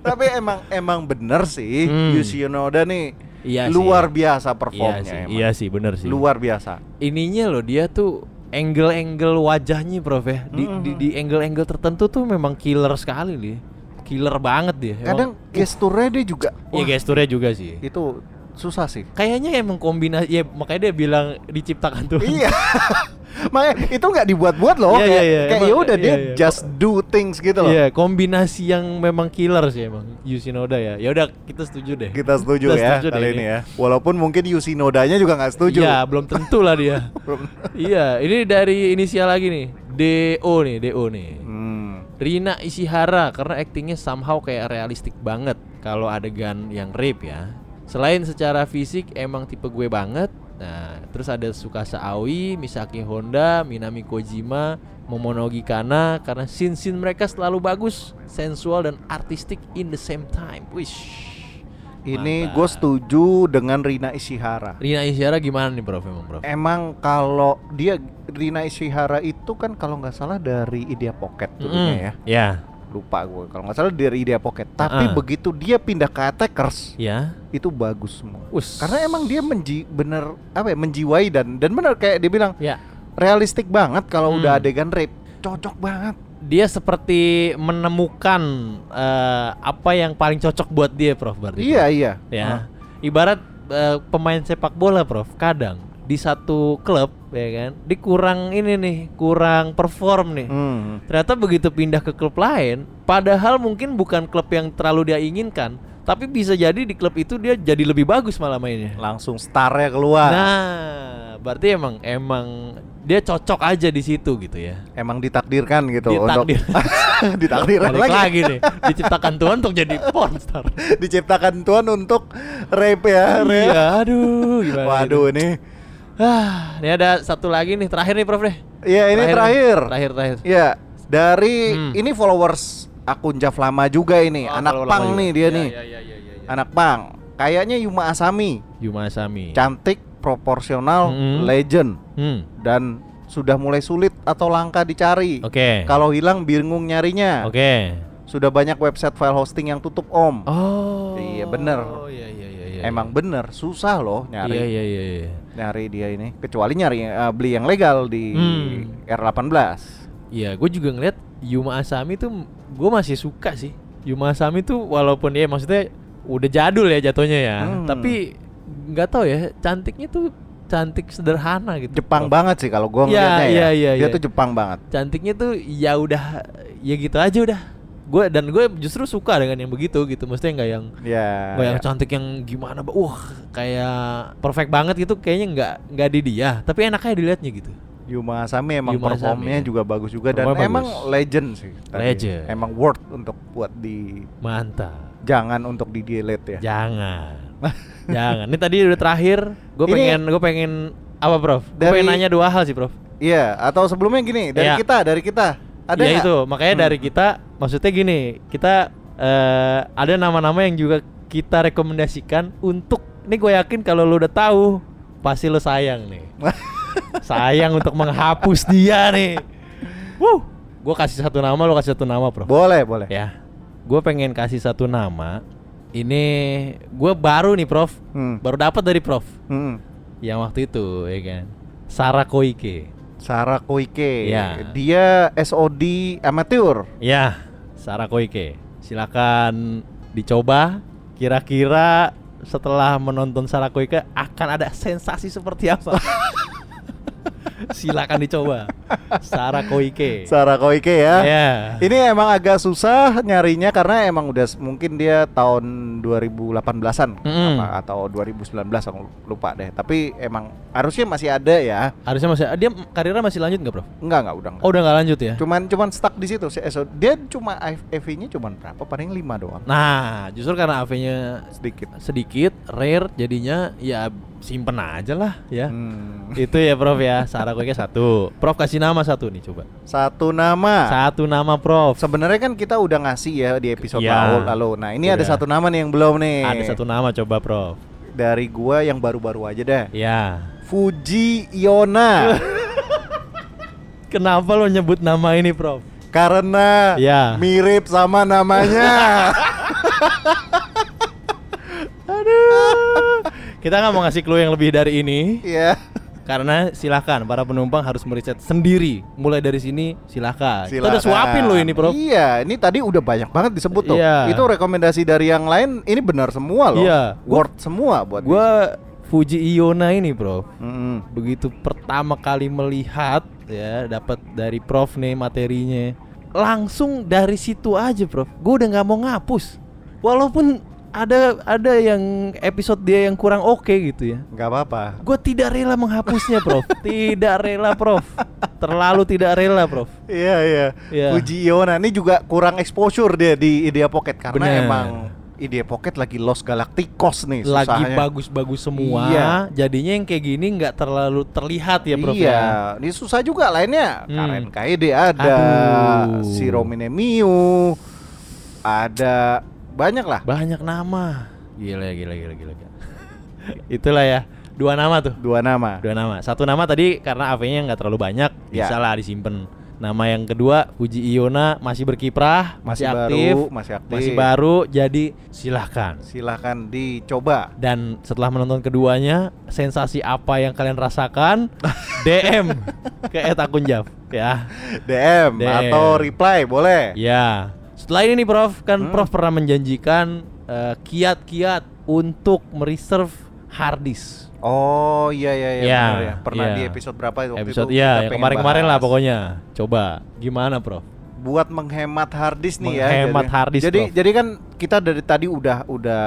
Speaker 5: Tapi emang emang bener sih
Speaker 4: Hmm.
Speaker 5: Yushi Yonoda nih
Speaker 4: Iya sih.
Speaker 5: luar biasa
Speaker 4: iya
Speaker 5: performnya.
Speaker 4: sih,
Speaker 5: emang.
Speaker 4: iya sih bener sih.
Speaker 5: Luar biasa.
Speaker 4: Ininya loh dia tuh angle-angle wajahnya Prof ya. Di di, di angle-angle tertentu tuh memang killer sekali dia. Killer banget dia. Emang-
Speaker 5: Kadang gesturnya dia juga
Speaker 4: Ya, oh. Iya
Speaker 5: wah,
Speaker 4: gesturnya juga sih.
Speaker 5: itu susah sih.
Speaker 4: Kayaknya emang kombinasi ya makanya dia bilang diciptakan tuh.
Speaker 5: iya. Makanya itu nggak dibuat-buat
Speaker 4: Iya,
Speaker 5: loh. kayak
Speaker 4: iya, iya.
Speaker 5: kayak
Speaker 4: Emang-
Speaker 5: ya udah dia
Speaker 4: iya, iya.
Speaker 5: just do things gitu loh.
Speaker 4: Iya, kombinasi yang memang killer sih emang Yushinoda ya. Ya udah kita setuju deh.
Speaker 5: Kita setuju
Speaker 4: Kita
Speaker 5: ya
Speaker 4: setuju
Speaker 5: kali
Speaker 4: deh
Speaker 5: ini ya. Walaupun mungkin Yusi Nodanya juga nggak setuju.
Speaker 4: Iya, belum tentu lah dia. iya, ini dari inisial lagi nih. DO nih, DO nih.
Speaker 5: Hmm.
Speaker 4: Rina Ishihara karena aktingnya somehow kayak realistik banget kalau adegan yang rape ya. Selain secara fisik emang tipe gue banget. Nah, terus ada Sukasa Aoi, Misaki Honda, Minami Kojima, Momonogi Kana karena scene-scene mereka selalu bagus, sensual dan artistik in the same time. Wish.
Speaker 5: Ini
Speaker 4: Mantap.
Speaker 5: gue setuju dengan Rina Ishihara.
Speaker 4: Rina Ishihara gimana nih, Prof? Emang,
Speaker 5: Eh,
Speaker 4: Prof?
Speaker 5: Emang kalau dia Rina Ishihara itu kan kalau nggak salah dari Idea Pocket dulunya ya.
Speaker 4: Mm, Ya.
Speaker 5: Lupa gue kalau nggak salah dari Idea Pocket. Tapi
Speaker 4: Ah.
Speaker 5: begitu dia pindah ke Attackers
Speaker 4: Ya.
Speaker 5: itu bagus semua.
Speaker 4: Us.
Speaker 5: Karena emang dia menji bener apa ya menjiwai dan dan bener kayak dia bilang
Speaker 4: ya.
Speaker 5: realistik banget kalau
Speaker 4: Hmm.
Speaker 5: udah adegan rape cocok banget.
Speaker 4: dia seperti menemukan eh, apa yang paling cocok buat dia, Prof. Berarti.
Speaker 5: Iya
Speaker 4: Prof.
Speaker 5: iya.
Speaker 4: Ya. Ibarat eh, pemain sepak bola, Prof. Kadang di satu klub, ya kan, dikurang ini nih, kurang perform nih.
Speaker 5: Ah. Hmm.
Speaker 4: Ternyata begitu pindah ke klub lain, padahal mungkin bukan klub yang terlalu dia inginkan, tapi bisa jadi di klub itu dia jadi lebih bagus malah mainnya.
Speaker 5: Langsung starnya keluar.
Speaker 4: Nah, berarti emang emang dia cocok aja di situ gitu ya.
Speaker 5: Emang ditakdirkan gitu
Speaker 4: Ditakdir.
Speaker 5: untuk ditakdirkan
Speaker 4: Balik
Speaker 5: lagi.
Speaker 4: lagi nih diciptakan Tuhan untuk jadi pornstar
Speaker 5: Diciptakan Tuhan untuk rape ya. rape.
Speaker 4: iya aduh gimana
Speaker 5: Waduh ini.
Speaker 4: ah ini ada satu lagi nih terakhir nih prof deh
Speaker 5: Iya ini terakhir.
Speaker 4: terakhir terakhir
Speaker 5: Iya dari
Speaker 4: Hmm.
Speaker 5: ini followers akun Jav lama juga ini.
Speaker 4: Oh,
Speaker 5: anak
Speaker 4: kalau lama
Speaker 5: pang
Speaker 4: juga.
Speaker 5: nih dia
Speaker 4: Iya,
Speaker 5: nih.
Speaker 4: iya, iya, iya, iya, iya.
Speaker 5: Anak pang. Kayaknya Yuma Asami.
Speaker 4: Yuma Asami
Speaker 5: Cantik, proporsional,
Speaker 4: Mm-mm.
Speaker 5: legend
Speaker 4: hmm.
Speaker 5: dan sudah mulai sulit atau langka dicari.
Speaker 4: oke
Speaker 5: Kalau hilang bingung nyarinya.
Speaker 4: oke
Speaker 5: Sudah banyak website file hosting yang tutup om.
Speaker 4: oh
Speaker 5: Iya, bener.
Speaker 4: oh iya iya iya, iya.
Speaker 5: Emang bener susah loh
Speaker 4: iya
Speaker 5: nyari
Speaker 4: iya iya, iya.
Speaker 5: nyari dia ini. Kecuali nyari eh, beli yang legal di
Speaker 4: Hmm.
Speaker 5: R18.
Speaker 4: Iya, gue juga ngeliat Yuma Asami tuh gue masih suka sih. Yuma Asami tuh walaupun ya maksudnya udah jadul ya jatuhnya ya,
Speaker 5: Hmm.
Speaker 4: tapi nggak tahu ya cantiknya tuh cantik sederhana gitu.
Speaker 5: Jepang
Speaker 4: Prof.
Speaker 5: banget sih kalau
Speaker 4: Iya,
Speaker 5: gua ngeliatnya
Speaker 4: iya,
Speaker 5: ya.
Speaker 4: iya,
Speaker 5: dia
Speaker 4: iya.
Speaker 5: tuh Jepang banget.
Speaker 4: Cantiknya tuh ya udah ya gitu aja udah. Gue dan gue justru suka dengan yang begitu gitu, maksudnya nggak yang
Speaker 5: Ya.
Speaker 4: nggak yang
Speaker 5: ya.
Speaker 4: cantik yang gimana, Ba- wah kayak perfect banget gitu, kayaknya nggak nggak di dia, tapi enaknya dilihatnya gitu.
Speaker 5: Yuma Asami emang
Speaker 4: Yuma Asami,
Speaker 5: performnya
Speaker 4: ya.
Speaker 5: juga bagus juga dan
Speaker 4: Performnya
Speaker 5: emang
Speaker 4: bagus.
Speaker 5: legend sih.
Speaker 4: Legend.
Speaker 5: Emang worth untuk buat di
Speaker 4: Mantap.
Speaker 5: jangan untuk di delete ya.
Speaker 4: Jangan. Jangan. Ini tadi udah terakhir. Gue
Speaker 5: Ini-
Speaker 4: pengen gue pengen apa, Prof? Gue
Speaker 5: Dari-
Speaker 4: pengen nanya dua hal sih, Prof.
Speaker 5: Iya, atau sebelumnya gini, dari
Speaker 4: Iya.
Speaker 5: kita, dari kita. Ada
Speaker 4: ya
Speaker 5: nggak?
Speaker 4: itu, makanya
Speaker 5: Hmm.
Speaker 4: dari kita maksudnya gini, kita eh, ada nama-nama yang juga kita rekomendasikan untuk ini gue yakin kalau lu udah tahu pasti lu sayang nih. sayang untuk menghapus dia nih. Wuh, gue kasih satu nama, lu kasih satu nama, Prof.
Speaker 5: Boleh, boleh.
Speaker 4: Ya, gue pengen kasih satu nama. Ini gue baru nih, Prof.
Speaker 5: Hmm.
Speaker 4: Baru dapat dari Prof.
Speaker 5: Hmm.
Speaker 4: Yang waktu itu, ya kan. Sarah Koike.
Speaker 5: Sarah Koike.
Speaker 4: Iya.
Speaker 5: Dia SOD amatir.
Speaker 4: Ya, Sarah Koike. Silakan dicoba. Kira-kira setelah menonton Sarah Koike akan ada sensasi seperti apa? Silakan dicoba. Sarah Koike.
Speaker 5: Sarah Koike ya.
Speaker 4: Ya.
Speaker 5: Ini emang agak susah nyarinya karena emang udah s- mungkin dia tahun 2018-an
Speaker 4: Mm-mm.
Speaker 5: apa, atau 2019 aku lupa deh. Tapi emang harusnya masih ada ya.
Speaker 4: Harusnya masih dia karirnya masih lanjut nggak, Prof?
Speaker 5: Enggak enggak udah enggak.
Speaker 4: Oh, udah nggak lanjut ya?
Speaker 5: Cuman cuman stuck di situ. Si SO Dia cuma FV-nya cuman berapa? Paling 5 doang.
Speaker 4: Nah, justru karena AV-nya
Speaker 5: Sedikit.
Speaker 4: sedikit rare jadinya ya simpen aja lah ya.
Speaker 5: Hmm.
Speaker 4: Itu ya, Prof ya. Sarah Koike satu. Prof kasih nama satu nih coba.
Speaker 5: Satu nama.
Speaker 4: Satu nama, Prof.
Speaker 5: Sebenarnya kan kita udah ngasih ya di episode
Speaker 4: Iya.
Speaker 5: lalu, lalu. Nah, ini ada
Speaker 4: Udah.
Speaker 5: satu nama nih yang belum nih.
Speaker 4: Ada satu nama coba, Prof.
Speaker 5: dari gua yang baru-baru aja deh.
Speaker 4: Ya.
Speaker 5: Fuji Yona.
Speaker 4: Kenapa lo nyebut nama ini, Prof?
Speaker 5: karena
Speaker 4: Ya.
Speaker 5: mirip sama namanya.
Speaker 4: Kita nggak mau ngasih clue yang lebih dari ini.
Speaker 5: Iya.
Speaker 4: Karena silakan para penumpang harus meriset sendiri. Mulai dari sini silakan. Kita Nah, udah
Speaker 5: Silakan.
Speaker 4: suapin loh ini, Prof.
Speaker 5: Iya, ini tadi udah banyak banget disebut tuh.
Speaker 4: Iya.
Speaker 5: Itu rekomendasi dari yang lain, ini benar semua loh.
Speaker 4: Iya.
Speaker 5: Word semua buat
Speaker 4: Gua Fuji Iona ini, Prof.
Speaker 5: di- Mm-mm.
Speaker 4: Begitu pertama kali melihat ya dapat dari Prof nih materinya. Langsung dari situ aja, Prof. Gue udah nggak mau ngapus. Walaupun ada ada yang episode dia yang kurang oke gitu ya.
Speaker 5: nggak apa-apa.
Speaker 4: Gue tidak rela menghapusnya, Prof. tidak rela, Prof. Terlalu tidak rela, Prof.
Speaker 5: Iya, iya.
Speaker 4: Iya.
Speaker 5: Fuji Yona ini juga kurang exposure dia di Idea Pocket karena
Speaker 4: Benar.
Speaker 5: emang Idea Pocket lagi Los Galacticos nih
Speaker 4: lagi
Speaker 5: susahnya.
Speaker 4: bagus-bagus semua.
Speaker 5: Iya.
Speaker 4: Jadinya yang kayak gini nggak terlalu terlihat ya, Prof.
Speaker 5: iya,
Speaker 4: ya?
Speaker 5: ini susah juga lainnya.
Speaker 4: Hmm.
Speaker 5: Karen KID ada,
Speaker 4: Aduh.
Speaker 5: si Romine Miu, ada banyak lah.
Speaker 4: Banyak nama. Gila, gila, gila, gila. gila. Itulah ya. Dua nama tuh.
Speaker 5: Dua nama.
Speaker 4: Dua nama. Satu nama tadi karena AV-nya nggak terlalu banyak,
Speaker 5: Iya.
Speaker 4: bisa lah disimpan. Nama yang kedua Fuji Iona masih berkiprah, masih,
Speaker 5: Masih
Speaker 4: aktif,
Speaker 5: baru, masih aktif.
Speaker 4: masih baru. Jadi silahkan.
Speaker 5: Silahkan dicoba.
Speaker 4: Dan setelah menonton keduanya, sensasi apa yang kalian rasakan? DM ke @akunjaf ya. DM.
Speaker 5: DM, atau reply boleh.
Speaker 4: Ya. Setelah ini nih Prof, kan
Speaker 5: Hmm.
Speaker 4: Prof pernah menjanjikan eh, kiat-kiat untuk mereserve hard disk.
Speaker 5: Oh iya iya
Speaker 4: Ya,
Speaker 5: iya. benar ya. Pernah
Speaker 4: ya.
Speaker 5: di episode berapa waktu
Speaker 4: Episode
Speaker 5: itu? kita
Speaker 4: ya, yang
Speaker 5: pengen
Speaker 4: kemarin-kemarin lah
Speaker 5: bahas.
Speaker 4: pokoknya. Coba gimana Prof?
Speaker 5: Buat menghemat harddisk nih ya.
Speaker 4: Menghemat
Speaker 5: jadi-
Speaker 4: hard disk,
Speaker 5: Jadi
Speaker 4: Prof.
Speaker 5: jadi kan kita dari tadi udah udah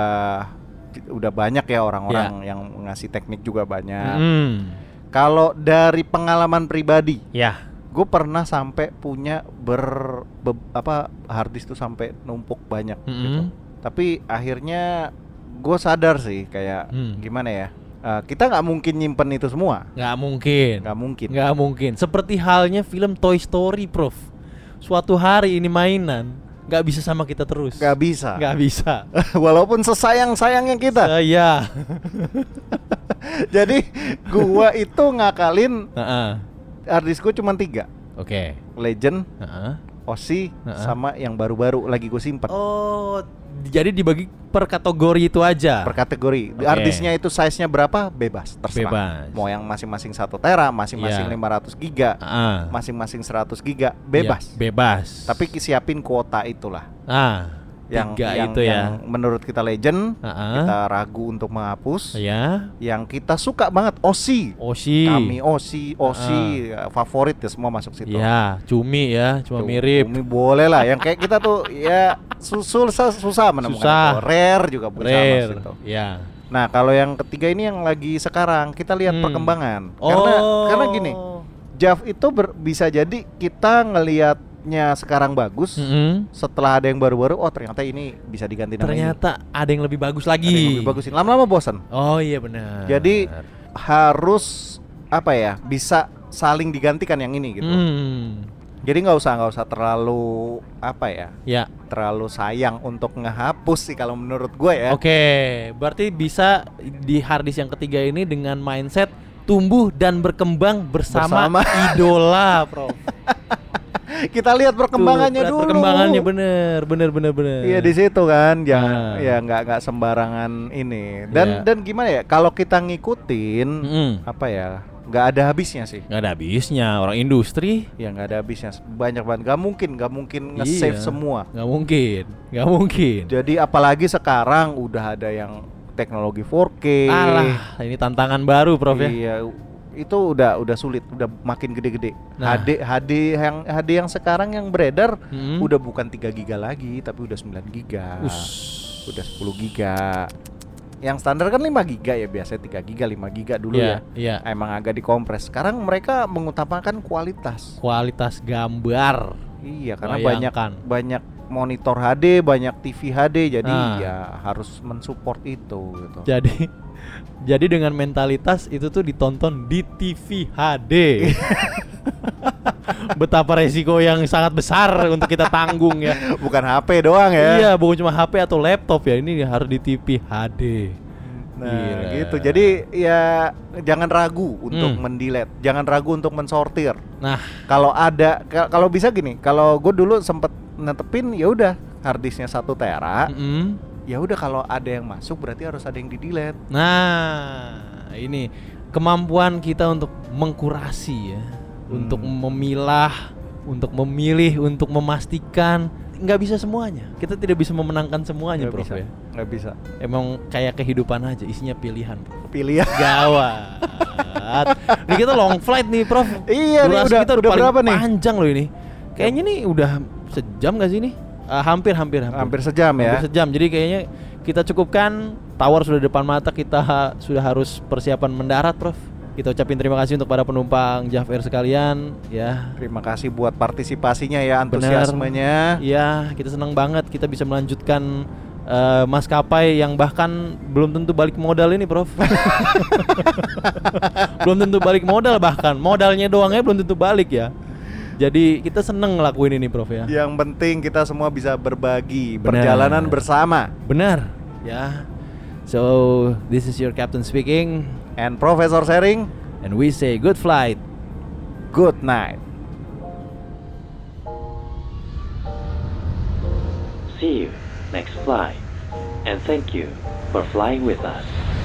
Speaker 5: udah banyak ya
Speaker 4: Iya.
Speaker 5: orang-orang yang ngasih teknik juga banyak.
Speaker 4: Hmm.
Speaker 5: Kalau dari pengalaman pribadi,
Speaker 4: Ya.
Speaker 5: gue pernah sampai punya ber be- apa harddisk tuh sampai numpuk banyak
Speaker 4: Mm-mm.
Speaker 5: gitu. Tapi akhirnya gue sadar sih kayak
Speaker 4: Hmm.
Speaker 5: gimana ya? eh, kita nggak mungkin nyimpen itu semua,
Speaker 4: Nggak mungkin.
Speaker 5: nggak mungkin.
Speaker 4: Nggak mungkin. Seperti halnya film Toy Story, Prof. Suatu hari ini mainan nggak bisa sama kita terus.
Speaker 5: Nggak bisa.
Speaker 4: Nggak bisa.
Speaker 5: Walaupun sesayang-sayangnya kita.
Speaker 4: Saya.
Speaker 5: iya. Jadi gua itu ngakalin
Speaker 4: Heeh.
Speaker 5: harddisk gua cuma tiga.
Speaker 4: Oke.
Speaker 5: Legend,
Speaker 4: Heeh.
Speaker 5: Osi,
Speaker 4: Heeh.
Speaker 5: sama yang baru-baru lagi gue simpen
Speaker 4: Oh, jadi dibagi per kategori itu aja.
Speaker 5: per
Speaker 4: Ah.
Speaker 5: kategori.
Speaker 4: Oke.
Speaker 5: Harddisknya itu size-nya berapa? Bebas,
Speaker 4: Bebas.
Speaker 5: terserah. Mau yang masing-masing 1 tera,
Speaker 4: Iya.
Speaker 5: masing-masing 500 giga,
Speaker 4: Ah.
Speaker 5: masing-masing 100 giga,
Speaker 4: Iya,
Speaker 5: bebas.
Speaker 4: bebas.
Speaker 5: Tapi siapin kuota itulah.
Speaker 4: ah,
Speaker 5: Yang,
Speaker 4: tiga
Speaker 5: yang-
Speaker 4: itu ya. Ah.
Speaker 5: yang menurut kita legend,
Speaker 4: Heeh.
Speaker 5: kita ragu untuk menghapus.
Speaker 4: Ya.
Speaker 5: Yang kita suka banget Osi.
Speaker 4: Oshi.
Speaker 5: Kami oh, Osi, Osi
Speaker 4: Ah.
Speaker 5: ya, favorit ya semua masuk situ.
Speaker 4: Ya, cumi ya, cuma mirip.
Speaker 5: Umi boleh lah yang kayak kita tuh ya susul susah, susah menemukan
Speaker 4: Susah.
Speaker 5: itu. rare juga bisa
Speaker 4: Rare.
Speaker 5: masuk itu.
Speaker 4: Ya.
Speaker 5: Nah, kalau yang ketiga ini yang lagi sekarang kita lihat
Speaker 4: Hmm.
Speaker 5: perkembangan. Karena
Speaker 4: Oh.
Speaker 5: karena gini, Jav itu ber- bisa jadi kita ngelihatnya sekarang bagus,
Speaker 4: Mm-mm.
Speaker 5: setelah ada yang baru-baru oh ternyata ini bisa diganti nama ini.
Speaker 4: Ternyata ada yang lebih bagus lagi.
Speaker 5: Ada yang lebih bagus ini. Lama-lama bosan.
Speaker 4: Oh iya benar.
Speaker 5: Jadi harus apa ya? Bisa saling digantikan yang ini gitu.
Speaker 4: Hmm.
Speaker 5: Jadi nggak usah nggak usah terlalu apa ya?
Speaker 4: Ya,
Speaker 5: terlalu sayang untuk ngehapus sih kalau menurut gue ya.
Speaker 4: oke. Berarti bisa di harddisk yang ketiga ini dengan mindset tumbuh dan berkembang bersama,
Speaker 5: Bersama.
Speaker 4: idola, Prof.
Speaker 5: Kita lihat perkembangannya
Speaker 4: Tuh,
Speaker 5: dulu.
Speaker 4: Perkembangannya bener, bener, bener, bener.
Speaker 5: Iya di situ
Speaker 4: Ah.
Speaker 5: kan, jangan ya nggak nggak sembarangan ini. Dan
Speaker 4: Iya.
Speaker 5: dan gimana ya kalau kita ngikutin
Speaker 4: Mm-mm.
Speaker 5: apa ya nggak ada habisnya sih.
Speaker 4: Nggak ada habisnya orang industri.
Speaker 5: Ya nggak ada habisnya banyak banget. Gak mungkin nggak mungkin nge-save
Speaker 4: Iya.
Speaker 5: semua.
Speaker 4: Nggak mungkin, nggak mungkin.
Speaker 5: Jadi apalagi sekarang udah ada yang teknologi 4K.
Speaker 4: Alah, ini tantangan baru, Prof ya.
Speaker 5: Iya, itu udah udah sulit, udah makin gede-gede.
Speaker 4: Nah.
Speaker 5: HD HD yang HD yang sekarang yang beredar
Speaker 4: Hmm.
Speaker 5: udah bukan 3 giga lagi, tapi udah 9 giga.
Speaker 4: Us.
Speaker 5: Udah 10 giga. Yang standar kan 5 giga ya biasanya 3 giga, 5 giga dulu
Speaker 4: Iya,
Speaker 5: ya.
Speaker 4: iya.
Speaker 5: Emang agak dikompres. Sekarang mereka mengutamakan kualitas.
Speaker 4: Kualitas gambar.
Speaker 5: Iya, karena
Speaker 4: Bayangkan.
Speaker 5: banyak banyak monitor HD, banyak TV HD, jadi
Speaker 4: Ah.
Speaker 5: ya harus mensupport itu gitu.
Speaker 4: Jadi jadi dengan mentalitas itu tuh ditonton di TV HD. Betapa resiko yang sangat besar untuk kita tanggung ya.
Speaker 5: Bukan HP doang ya.
Speaker 4: Iya, bukan cuma HP atau laptop ya. Ini harus di TV HD.
Speaker 5: Nah,
Speaker 4: Gila.
Speaker 5: gitu. Jadi ya jangan ragu untuk
Speaker 4: Hmm.
Speaker 5: mendelete, jangan ragu untuk mensortir.
Speaker 4: Nah,
Speaker 5: Kalau ada ka- kalau bisa gini, kalau gue dulu sempet netepin ya udah harddisknya satu tera,
Speaker 4: mm-mm.
Speaker 5: ya udah kalau ada yang masuk berarti harus ada yang di delete.
Speaker 4: Nah, ini kemampuan kita untuk mengkurasi ya,
Speaker 5: Hmm.
Speaker 4: untuk memilah, untuk memilih, untuk memastikan nggak bisa semuanya. Kita tidak bisa memenangkan semuanya,
Speaker 5: Nggak
Speaker 4: Prof
Speaker 5: bisa,
Speaker 4: ya.
Speaker 5: nggak bisa.
Speaker 4: Emang kayak kehidupan aja, isinya pilihan, Prof.
Speaker 5: Pilihan.
Speaker 4: Gawat. ini kita long flight nih, Prof.
Speaker 5: Iya nih,
Speaker 4: Durasi
Speaker 5: udah-
Speaker 4: kita udah,
Speaker 5: udah
Speaker 4: paling
Speaker 5: berapa nih?
Speaker 4: Panjang loh ini. Kayaknya nih udah sejam gak sih nih? Eh, hampir, hampir, hampir.
Speaker 5: Hampir sejam ya.
Speaker 4: Hampir sejam. Jadi kayaknya kita cukupkan. Tawar sudah depan mata. Kita ha- sudah harus persiapan mendarat, Prof. Kita ucapin terima kasih untuk para penumpang Jav Air sekalian. Ya.
Speaker 5: Terima kasih buat partisipasinya ya,
Speaker 4: Benar.
Speaker 5: antusiasmenya.
Speaker 4: Ya, kita senang banget kita bisa melanjutkan eh, maskapai yang bahkan belum tentu balik modal ini, Prof. belum tentu balik modal bahkan. Modalnya doangnya belum tentu balik ya. Jadi kita seneng ngelakuin ini, Prof ya.
Speaker 5: Yang penting kita semua bisa berbagi
Speaker 4: Benar.
Speaker 5: perjalanan bersama.
Speaker 4: Benar. Ya. So, this is your captain speaking
Speaker 5: And Profesor Sharing,
Speaker 4: and we say good flight.
Speaker 5: good night.
Speaker 3: See you next flight, and thank you for flying with us.